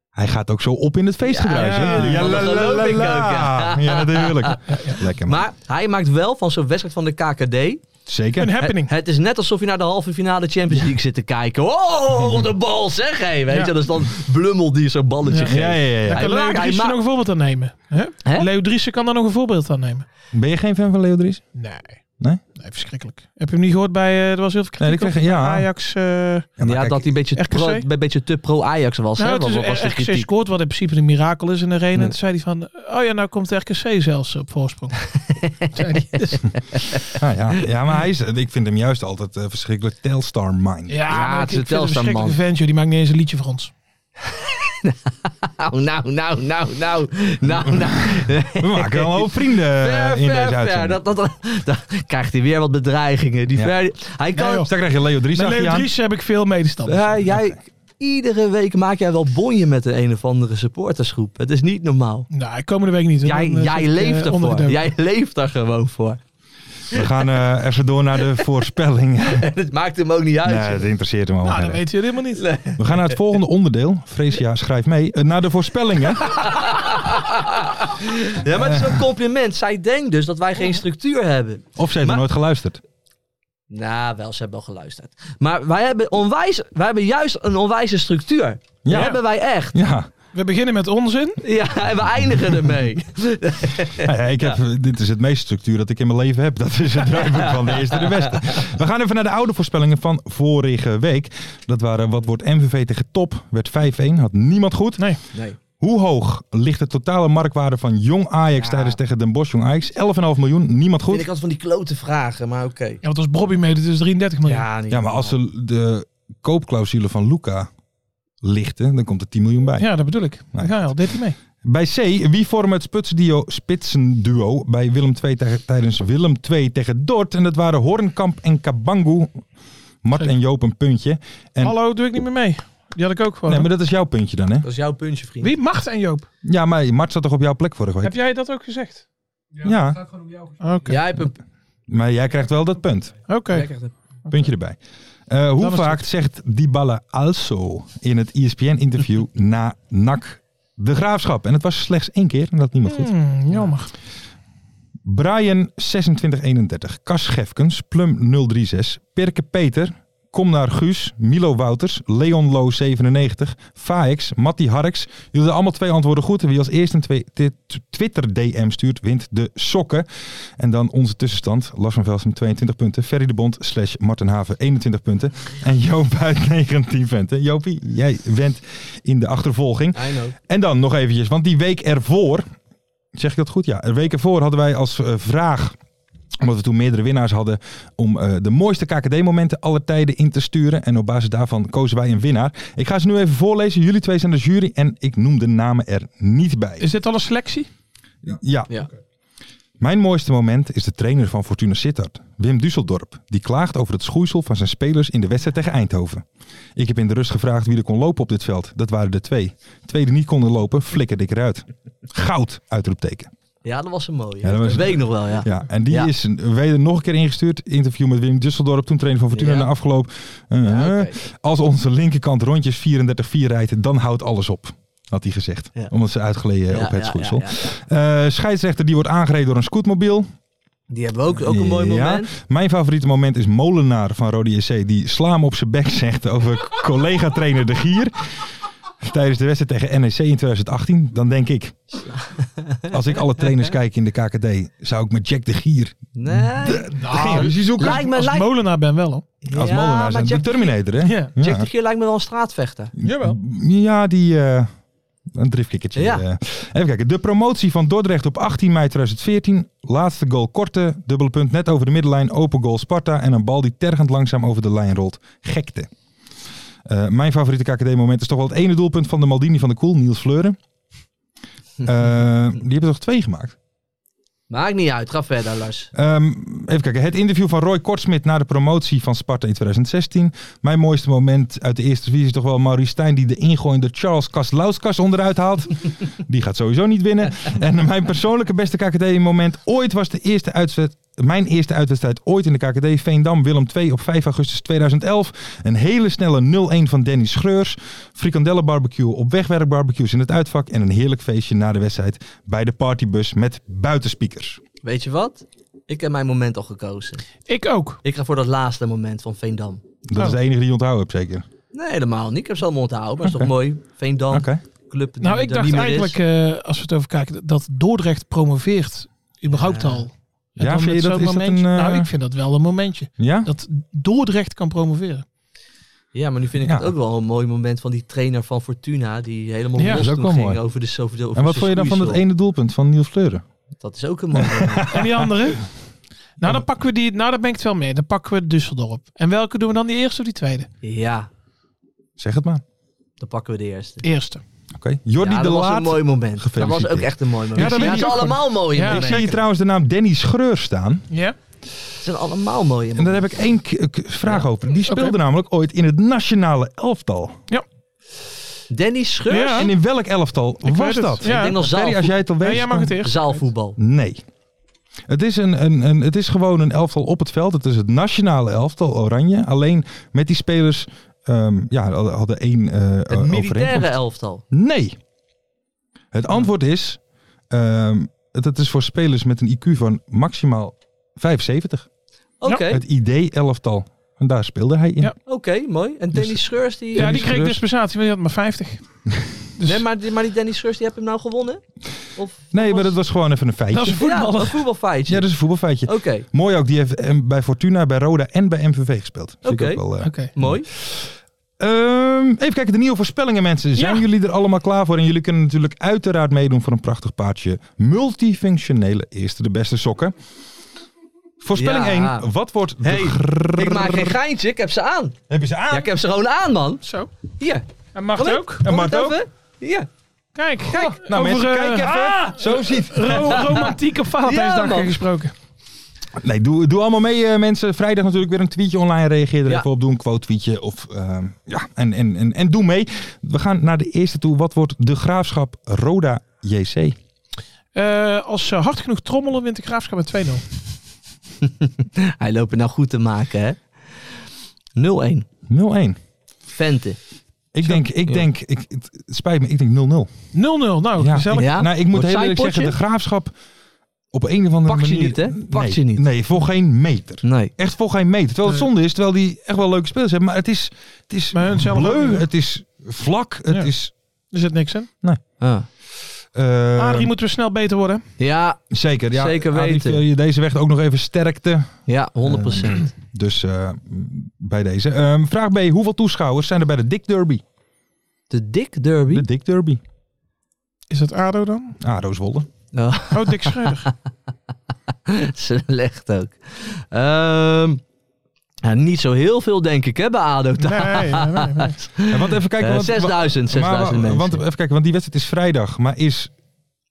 D: Hij gaat ook zo op in het feestgedruis.
F: Ja,
D: hè?
F: ja,
E: dat geloof ik ook, ja.
D: Ja, natuurlijk. Lekker man.
E: Maar hij maakt wel van zo'n wedstrijd van de KKD...
D: Zeker.
F: Een happening.
E: Het, het is net alsof je naar de halve finale Champions League zit te kijken. Oh, de bal zeg hé. Weet
F: Ja.
E: je, dat is dan Blummel die zo'n balletje
F: Ja.
E: geeft.
D: Ja, ja, ja,
F: Daar
D: ja.
E: Hij
F: kan Leo
E: maakt- hij
F: Driessen
E: maakt-
F: nog een voorbeeld aan nemen. Hè?
E: Hè?
F: Leo Driessen kan daar nog een voorbeeld aan nemen.
D: Ben je geen fan van Leo Dries?
F: Nee.
D: Nee?
F: Nee, verschrikkelijk. Heb je hem niet gehoord bij... eh, er was heel veel kritiek
D: Nee, ik kreeg-
F: over
D: ja.
F: Ajax... eh,
E: Ja, dat hij een beetje,
F: RKC?
E: pro- een beetje te pro-Ajax was. hè?
F: nou,
E: Wat-
F: het
E: wat was
F: is
E: de
F: RKC
E: kritiek?
F: scoort, wat in principe een mirakel is in de arena.
E: Nee.
F: En toen zei hij van... Oh ja, nou komt de RKC zelfs op voorsprong. zei hij. Dus-
D: Ah, ja. ja, maar hij is, ik vind hem juist altijd eh, verschrikkelijk telstar mind.
F: ja, maar
E: het
F: ik-
E: is een
F: ik
E: Telstar
F: vind hem
E: man.
F: verschrikkelijke vent, joh. Die maakt niet eens een liedje voor ons.
E: Nou, nou, nou, nou, nou, nou, nou.
D: We maken wel een hoop vrienden eh,
E: Ver,
D: in
E: ver,
D: deze
E: ver.
D: uitzending.
E: Dat, dat, dat- krijgt hij weer wat bedreigingen. Die
D: Ja.
E: ver, hij kan...
F: Nee, joh.
D: Dus daar krijg je Leo Dries
F: Met
D: achter je
F: Leo
D: aan.
F: Driessen heb ik veel medestanders.
E: Ja, jij, iedere week maak jij wel bonje met de een of andere supportersgroep. Het is niet normaal.
F: Nou, komende week niet. hè.
E: Jij,
F: Dan, eh,
E: jij
F: zit ik, eh,
E: leeft
F: onder de
E: ervoor.
F: dook.
E: Jij leeft er gewoon voor.
D: We gaan eh, even door naar de voorspelling.
E: En het maakt hem ook niet uit.
D: nee, dat interesseert hem al.
F: Nou, dat weten jullie helemaal niet.
D: We gaan naar het volgende onderdeel. Freesia, schrijf mee. Eh, naar de voorspellingen.
E: Ja, maar
D: Eh.
E: het is een compliment. Zij denkt dus dat wij geen structuur hebben.
D: Of ze heeft nog
E: Maar-
D: nooit geluisterd.
E: Nou, wel, ze hebben wel geluisterd. Maar wij hebben, onwijs, wij hebben juist een onwijze structuur. Die
D: Ja.
E: hebben wij echt.
D: Ja,
F: We beginnen met onzin.
E: Ja, en we eindigen ermee.
D: Nou ja, ik heb, dit is het meeste structuur dat ik in mijn leven heb. Dat is het draaiboek van de eerste de beste. We gaan even naar de oude voorspellingen van vorige week. Dat waren wat wordt MVV tegen top. Werd 5-1, had niemand goed.
F: Nee.
E: Nee.
D: Hoe hoog ligt de totale marktwaarde van Jong Ajax tijdens tegen Den Bosch Jong Ajax? 11,5 miljoen,
E: Vind ik
D: niemand goed.
E: altijd van die klote vragen, maar oké.
F: Ja, want als Bobby meedoet is het 33 miljoen.
E: Ja, niet
D: Ja, maar als ze de koopclausule van Luca lichten, dan komt er 10 miljoen bij.
F: Ja, dat bedoel ik. Daar ga je al. Deed hij mee.
D: Bij C, wie vormen het spitsduo, spitsenduo bij Willem 2 tegen- tijdens Willem 2 tegen Dort? En dat waren Hornkamp en Kabangu. Mart en Joop een puntje. En,
F: Hallo, doe ik niet meer mee. Die had ik ook gewoon.
D: nee, maar dat is jouw puntje dan, hè?
E: Dat is jouw puntje, vriend.
F: Wie? Macht en Joop.
D: Ja, maar Mart zat toch op jouw plek vorige week?
F: Heb jij dat ook gezegd?
D: Ja.
G: Het gaat gewoon om jou.
F: Oké.
E: Jij hebt een...
D: Maar jij krijgt wel dat punt.
F: Oké.
E: jij krijgt een-
D: Puntje erbij. Eh, hoe
F: Dat was
D: vaak zegt Dybala also in het E ESPN-interview na NAC de graafschap? En het was slechts één keer en dat had niemand goed.
F: Hmm, jammer.
D: Brian 2631, Cas Gefkens, Plum 036, Pirke Peter, Kom naar Guus, Milo Wouters, Leon Lo 97, Faix, Matti Harks. Jullie hebben allemaal twee antwoorden goed. En wie als eerste een twe- ti- t- Twitter DM stuurt, wint de sokken. En dan onze tussenstand. Lars van Velsen 22 punten, Ferry de Bond slash Martin Haven 21 punten. En Joop uit 19 punten. Jopie, jij went in de achtervolging.
E: I know.
D: En dan nog eventjes, want die week ervoor, zeg ik dat goed? Ja, een week ervoor hadden wij als eh, vraag, omdat we toen meerdere winnaars hadden, om eh, de mooiste KKD-momenten aller tijden in te sturen. En op basis daarvan kozen wij een winnaar. Ik ga ze nu even voorlezen. Jullie twee zijn de jury en ik noem de namen er niet bij.
F: Is dit al een selectie?
D: Ja.
E: Ja.
D: Mijn mooiste moment is de trainer van Fortuna Sittard, Wim Dusseldorp, die klaagt over het schoeisel van zijn spelers in de wedstrijd tegen Eindhoven. Ik heb in de rust gevraagd wie er kon lopen op dit veld. Dat waren er twee. Twee die niet konden lopen, flikkerde ik eruit. Goud, uitroepteken.
E: Ja, dat was een mooie.
D: Ja, dat was
E: dat
D: een-
E: weet ik nog wel, ja.
D: Ja, en die
E: Ja.
D: is een- weder nog een keer ingestuurd. Interview met Wim Dusseldorp, toen trainer van Fortuna
E: Ja.
D: na afgelopen. eh,
E: Ja, oké.
D: Als onze linkerkant rondjes 34-4 rijdt, dan houdt alles op. Had hij gezegd.
E: Ja.
D: Omdat ze uitgeleden
E: Ja,
D: op het
E: ja,
D: schoeisel.
E: ja, ja.
D: Eh, scheidsrechter die wordt aangereden door een scootmobiel.
E: Die hebben we ook, ook een mooi
D: Ja.
E: moment.
D: Mijn favoriete moment is Molenaar van Rode JC. Die sla hem op zijn bek zegt over collega-trainer De Gier. Tijdens de wedstrijd tegen NEC in 2018. Dan denk ik, als ik alle trainers kijk in de KKD, zou ik met Jack De Gier
E: Nee.
D: geen ruzie zoeken.
E: Ah, lijkt me,
F: Als
E: lijkt
F: molenaar ben wel hoor.
D: Als
E: ja,
D: Molenaar
E: maar
D: zijn.
E: Jack,
D: de Terminator, hè?
F: Ja.
E: Jack de Gier lijkt me wel een straatvechter.
F: Jawel.
D: Ja, die... eh, een driftkikkertje.
E: Ja.
D: eh. Even kijken. De promotie van Dordrecht op 18 mei 2014. Laatste goal korte, dubbele punt net over de middenlijn. Open goal Sparta en een bal die tergend langzaam over de lijn rolt. Gekte. Eh, mijn favoriete KKD-moment is toch wel het ene doelpunt van de Maldini van de Koel, Niels Fleuren. Eh, die hebben toch twee gemaakt?
E: Maakt niet uit, ga verder, Lars.
D: Ehm, even kijken. Het interview van Roy Kortsmit na de promotie van Sparta in 2016. Mijn mooiste moment uit de eerste divisie is toch wel Maurice Stijn die de ingooiende Charles Kaslauskas onderuit haalt. die gaat sowieso niet winnen. En mijn persoonlijke beste KKD-moment ooit was de eerste uitzet. Mijn eerste uitwedstrijd ooit in de KKD, Veendam, Willem II op 5 augustus 2011. Een hele snelle 0-1 van Danny Schreurs. Frikandellenbarbecue op wegwerkbarbecues in het uitvak. En een heerlijk feestje na de wedstrijd bij de partybus met buitenspeakers.
E: Weet je wat? Ik heb mijn moment al gekozen.
F: Ik ook.
E: Ik ga voor dat laatste moment van Veendam.
D: Dat is de enige die je onthouden hebt, zeker.
E: Nee, helemaal niet. Ik heb ze allemaal onthouden, maar is toch mooi. Veendam,
D: Oké.
E: club die
F: Nou, ik
E: er
F: dacht
E: niet meer
F: eigenlijk,
E: is.
F: eh, als we het over kijken, dat Dordrecht promoveert. Überhaupt
E: Ja.
F: al. En
D: Ja,
F: dan
D: vind je
F: met
D: dat-
F: zo'n
D: is dat
F: momentje.
D: een, eh,
F: Nou, ik vind dat wel een momentje.
D: Ja?
F: Dat Dordrecht kan promoveren.
E: Ja, maar nu vind ik
D: Ja.
E: het ook wel een mooi moment van die trainer van Fortuna, die helemaal
F: Ja,
E: los
D: dat is ook
E: toen
D: wel
E: ging
D: mooi.
E: over de over de- over
D: En wat
E: de
D: vond je dan van dat
E: schoeisel.
D: ene doelpunt van Niels Fleuren?
E: Dat is ook een mooi moment.
F: En die andere? Nou, dan pakken we die. Nou, daar ben ik het wel mee. Dan pakken we Düsseldorp. En welke doen we dan? Die eerste of die tweede?
E: ja,
D: Zeg het maar. Oké.
E: dan pakken we de eerste.
F: Eerste.
D: Jordi
E: ja,
D: de
E: dat was een
D: Laat.
E: mooi moment. Dat was
D: Gefeliciteerd.
E: ook echt een mooi moment.
F: dat
E: Ja,
F: weet
E: ze
F: ik ook
E: allemaal mooie
F: Ja,
D: Ik
E: momenten.
D: zie hier trouwens de naam Danny Schreur staan.
F: Ja.
E: Het zijn allemaal mooie
D: En daar
E: momenten.
D: heb ik één k- k- vraag
E: Ja.
D: over. Die speelde
F: Oké.
D: namelijk ooit in het nationale elftal.
E: Danny Scheurs,
F: Ja.
D: En in welk elftal
F: Ik
D: was
F: weet het.
D: dat?
F: Ja.
E: ik denk nog
D: Ferry,
E: zaal,
D: als jij het al weet.
F: Nee, jij mag
D: dan-
F: het eerst.
E: zaalvoetbal.
D: Nee. Het is, een, een, een, het is gewoon een elftal op het veld. Het is het nationale elftal, Oranje. Alleen met die spelers ehm, ja, hadden één eh
E: Het
D: overeenkomst.
E: militaire elftal.
D: Nee. Het antwoord is: ehm het, het is voor spelers met een IQ van maximaal 75.
E: Oké,
D: Het ID-elftal. En daar speelde hij in.
F: Ja.
E: oké, mooi.
D: Dus-
E: En Danny Scheurs, die...
F: Ja, die
D: Dennis
F: kreeg
D: Rust.
F: dispensatie, want die had maar 50. Dus
E: Nee, maar, die- maar die Danny Scheurs, die heb hem nou gewonnen? Of
D: Nee, maar dat was gewoon even een
F: dat is
D: feitje.
F: een
E: Ja,
F: voetballer.
E: een voetbalfeitje.
D: Ja, dus- dat is een voetbalfeitje.
E: Oké,
D: Mooi ook, die heeft eh, bij Fortuna, bij Roda en bij MVV gespeeld. Zie ik
E: Oké.
D: ook wel, eh.
F: Oké.
E: mooi.
D: Ehm, even kijken, de nieuwe voorspellingen mensen. Zijn
F: Ja.
D: jullie er allemaal klaar voor? En jullie kunnen natuurlijk uiteraard meedoen voor een prachtig paardje. Multifunctionele eerste de beste sokken. Voorspelling
E: Ja.
D: 1. Wat wordt de
E: Hey,
D: gr-
E: Ik maak geen geintje, ik heb ze aan.
D: Heb je ze aan?
E: Ja, ik heb ze gewoon aan, man.
F: Zo.
E: Hier,
F: En mag
E: Kom
F: het
E: ik?
F: ook? Oh,
D: En
E: kom
D: Mart
E: het
D: ook?
E: even. Hier.
F: Kijk, kijk.
D: Nou, mensen, kijk even.
F: Ah,
D: Zo ziet.
F: ro- romantieke Valentijnsdag
E: man.
F: gesproken.
D: Nee, doe, doe allemaal mee eh, mensen. Vrijdag natuurlijk weer een tweetje online. Reageer er
E: Ja.
D: even op. Doe een quote tweetje. Of, ehm, ja, en, en, en, en doe mee. We gaan naar de eerste toe. Wat wordt de graafschap Roda JC?
F: Eh, als ze hard genoeg trommelen, wint de graafschap met 2-0.
E: Hij loopt het nou goed te maken, hè. 0-1.
D: 0-1.
E: Vente.
D: Ik denk, ik
E: ja.
D: denk, ik, het spijt me, ik denk 0-0.
F: 0-0. Nou,
D: Ja.
F: gezellig.
E: Ja?
D: Nou, ik moet
E: Wordt
D: heel eerlijk
E: zijpotje?
D: zeggen, de graafschap op een of andere
E: Pakt je
D: manier...
E: niet, hè? Pakt
D: nee,
E: je niet.
D: Nee, voor geen meter.
E: Nee.
D: Echt voor geen meter. Terwijl het zonde is, terwijl die echt wel leuke spelers hebben. Maar het is, het is
F: Maar hun zelf ook
D: bleu,
F: niet, hè?
D: het is vlak, het
F: Ja.
D: is...
F: Er zit niks in.
E: Ah.
D: eh,
F: Adrie moeten we snel beter worden.
E: Ja,
D: Zeker, ja.
E: Zeker
D: Adrie,
E: weten.
D: wil je deze weg ook nog even sterkte.
E: ja, 100 procent.
D: Dus eh, bij deze. Ehm, vraag B. Hoeveel toeschouwers zijn er bij de Dick Derby?
E: de Dick Derby.
D: De Dick Derby.
F: Is dat ADO dan?
D: Ah, Rooswolde.
E: Oh,
F: Oh, Dick Schreuder.
E: slecht ook. Ehm, ja, niet zo heel veel, denk ik, hè, bij ADO.
F: Nee, nee, nee, nee.
D: En want even kijken.
E: Eh,
D: want,
E: 6000,
D: wa- maar wa-
E: 6000 mensen.
D: Want, even kijken, want die wedstrijd is vrijdag. Maar is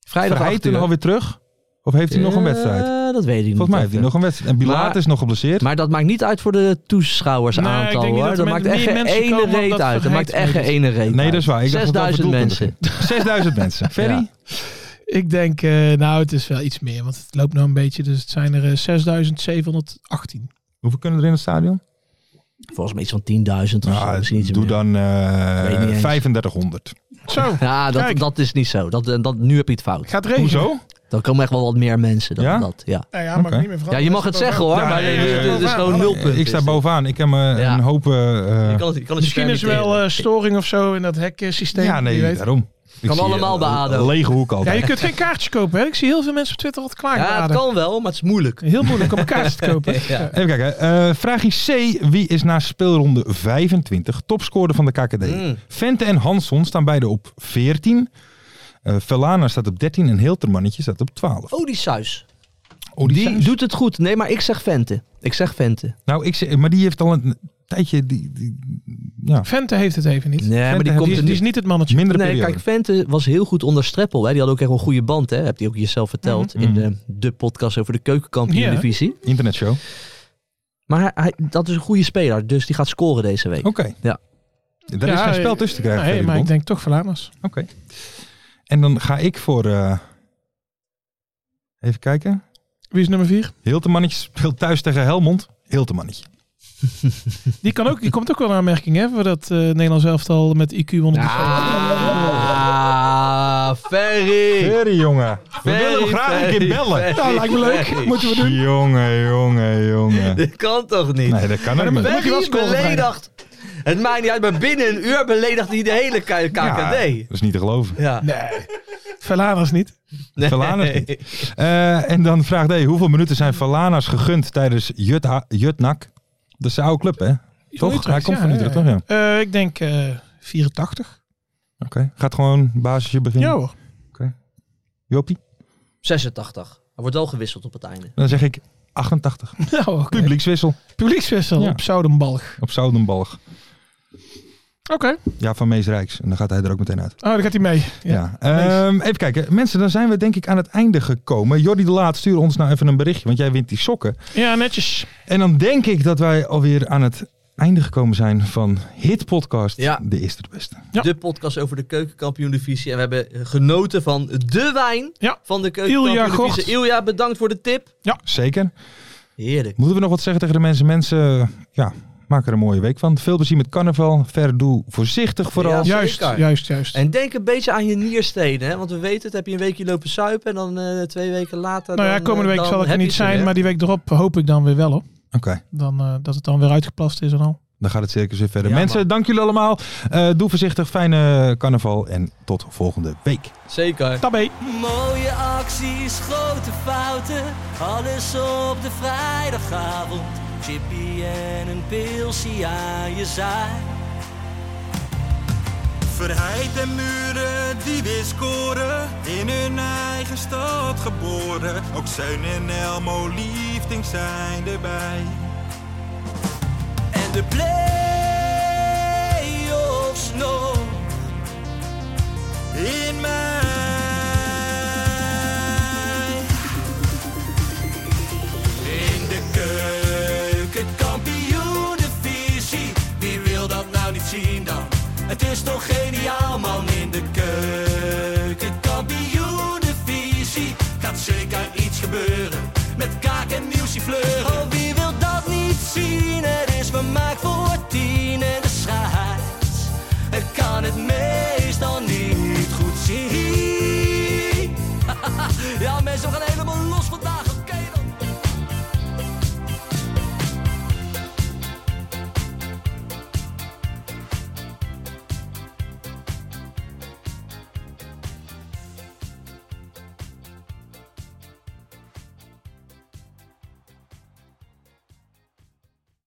E: Vrijdag
D: Verheijten alweer terug? Of heeft hij nog een wedstrijd?
E: dat weet ik niet.
D: Volgens mij heeft
E: Eh, even.
D: hij nog een wedstrijd. En Bilaat
E: Maar-
D: is nog geblesseerd.
E: Maar dat maakt niet uit voor de
F: Nee, ik
E: toeschouwersaantal
F: denk
E: hoor.
F: niet dat
E: Dat,
F: er met
E: maakt echt
F: meer
E: geen
F: mensen
E: ene
F: komen dan
E: reet
F: dat
E: uit. Dat maakt echt geen
F: vergeten
E: ene reet
D: nee,
E: uit.
D: dat is waar. Ik dacht dat het over
E: 6000 mensen.
D: doelpunten ging. 6000 mensen. Ferry?
E: Ja.
F: Ik denk, eh, nou, het is wel iets meer, want het loopt nou een beetje. Dus het zijn er eh, 6718.
D: Hoeveel kunnen er in het stadion?
E: Volgens mij iets van 10.000 of zo.
D: Ah,
E: Misschien iets
D: doe
E: meer.
D: dan eh,
E: Weet niet eens.
D: 3500.
F: Zo,
E: Ja, dat,
F: Kijk.
E: dat is niet zo. Dat, eh, dat, nu heb je het fout.
F: gaat regenen.
D: Hoezo?
E: Dan komen echt wel wat meer mensen dan
D: Ja?
E: dat. Ja,
F: Nou ja, mag
D: Oké.
F: ik niet meer
E: ja
F: veranderen.
E: je mag het zeggen hoor.
D: Ja,
E: maar dit
D: nee, nee,
E: is- dit
D: nee,
E: is gewoon nul punten.
D: Ik sta bovenaan. Ik heb me
E: Ja.
D: een hoop... eh,
E: Ik kan het, ik kan het
F: Misschien is er wel eh, storing of zo in dat heksysteem.
D: ja, nee,
F: wie weet.
D: daarom. Ik
E: Kan
D: zie,
E: allemaal
D: eh,
E: bij ADO.
D: Lege hoek
F: Ja,
D: altijd.
F: je kunt geen kaartjes kopen. Hè? Ik zie heel veel mensen op Twitter altijd klaar.
E: Ja, het kan wel, maar het is moeilijk.
F: Heel moeilijk om kaartjes te kopen.
E: Ja.
D: Even kijken. eh vraagje C. Wie is na speelronde 25 topscorer van de KKD?
E: Mm.
D: Vente en Hansson staan beide op 14. Eh Velana staat op 13 en Hiltermannetje staat op 12.
E: Oh, die Suis.
D: Oh,
E: Die
D: Suijs.
E: doet het goed. Nee, maar ik zeg Vente. Ik zeg Vente.
D: Nou, ik zeg, maar die heeft al een tijdje die, die, ja,
F: Vente heeft het even niet.
E: Nee, maar die
D: heeft-
E: komt
F: Die,
E: er
F: is,
E: niet.
F: die is niet het mannetje.
D: mindere
E: Nee,
D: periode.
E: kijk, Vente was heel goed onder Streppel. Hè. Die had ook echt wel een goede band. Hè. Heb je ook jezelf verteld
F: Mhm.
E: in de, de podcast over de keukenkampioen-divisie.
D: Internetshow. Oké.
E: Maar hij, hij- dat is een goede speler, dus die gaat scoren deze week. Ja.
D: Daar is
F: Ja,
D: geen
F: eh,
D: spel tussen te krijgen.
F: Nee,
D: Ferry
F: maar
D: de
F: ik
D: Bond.
F: denk toch Vlaanders.
D: Oké. En dan ga ik voor... eh, even kijken.
F: Wie is nummer 4?
D: Hiltermannetje speelt thuis tegen Helmond. Hiltermannetje.
F: Die, kan ook, die komt ook wel in aanmerking, hè? Voor dat eh Nederlands elftal met IQ onder de
E: Ah, Ferry!
D: Ferry, jongen. We willen hem
E: Ferry,
D: graag een keer
E: Ferry,
D: bellen.
E: Ferry, Ferry.
D: Moeten we doen. Jongen, jongen, jongen.
E: Dit kan toch niet?
D: Nee, dat kan ook niet.
F: moet je wel
E: Ferry
F: scoren
E: beledigt. Het maakt niet uit, maar binnen een uur beledigt hij de hele K-
D: Ja,
E: KKD.
D: dat is niet te geloven.
E: Ja.
F: Nee, Verladers niet.
E: Nee.
D: Verlaners niet. Eh, en dan vraagt D. Hoeveel minuten zijn Valanas gegund tijdens Jut Jutnak? Dat is de oude club, hè? Toch?
F: Utrecht,
D: Hij komt
F: ja,
D: van Utrecht,
F: ja,
D: toch? Ja. Oké.
F: Eh, ik denk eh 84.
D: Gaat gewoon basisje
F: Ja
D: beginnen.
F: hoor.
D: Jopie.
E: 86. Hij wordt wel gewisseld op het einde.
D: Dan zeg ik 88.
F: Nou, oké.
D: Publiekswissel
F: Publiekswissel
D: Ja.
F: op Zoudenbalg.
D: op Zoudenbalg.
F: Oké.
D: Ja, van Mees Rijks. En dan gaat hij er ook meteen uit.
F: Oh, daar gaat hij mee. Ja.
D: Ja. Ehm, even kijken. Mensen, dan zijn we denk ik aan het einde gekomen. Jordi de Laat, stuur ons nou even een berichtje. Want jij wint die sokken.
F: ja, netjes.
D: En dan denk ik dat wij alweer aan het einde gekomen zijn van Hit Podcast.
E: Ja.
D: De eerste de beste.
F: Ja.
E: De podcast over de keukenkampioen-divisie. En we hebben genoten van de wijn
F: Ja.
E: van de keukenkampioen-divisie. Ilja, bedankt voor de tip.
D: Zeker.
E: Heerlijk.
D: Moeten we nog wat zeggen tegen de mensen? Mensen, ja, maak er een mooie week van. Veel plezier met carnaval. Verder doe voorzichtig vooral.
E: Ja.
F: Juist,
E: zeker.
F: juist, juist.
E: En denk een beetje aan je nierstenen, hè? want we weten het, heb je een weekje lopen suipen en dan eh, twee weken later...
F: nou ja,
E: dan,
F: komende
E: eh,
F: week
E: dan
F: zal ik er
E: heb je
F: niet
E: ze
F: zijn,
E: weer.
F: maar die week erop hoop ik dan weer wel op.
D: Oké,
F: Dan, eh, dat het dan weer uitgeplast is en al.
D: dan gaat het circus weer verder.
E: Ja,
D: mensen,
E: man.
D: dank jullie allemaal. Eh, doe voorzichtig. Fijne carnaval. En tot volgende week.
E: Zeker.
F: Tabé.
B: Mooie acties, grote fouten, alles op de vrijdagavond. Chippy en een pilsie aan je zaai.
C: Verheid en muren die weer scoren, in hun eigen stad geboren. Ook Zijn en Elmo Liefding zijn erbij.
B: En de play-offs nog.
C: In mij.
B: In de keuken, kampioen Wie wil dat nou niet zien dan? Het is toch geniaal man in de keuken, kampioen Gaat zeker iets gebeuren met kaak en nieuwsie fleuren. Oh, wie wil dat niet zien? Het is vermaakt voor tien en de scheids. Het kan het mee.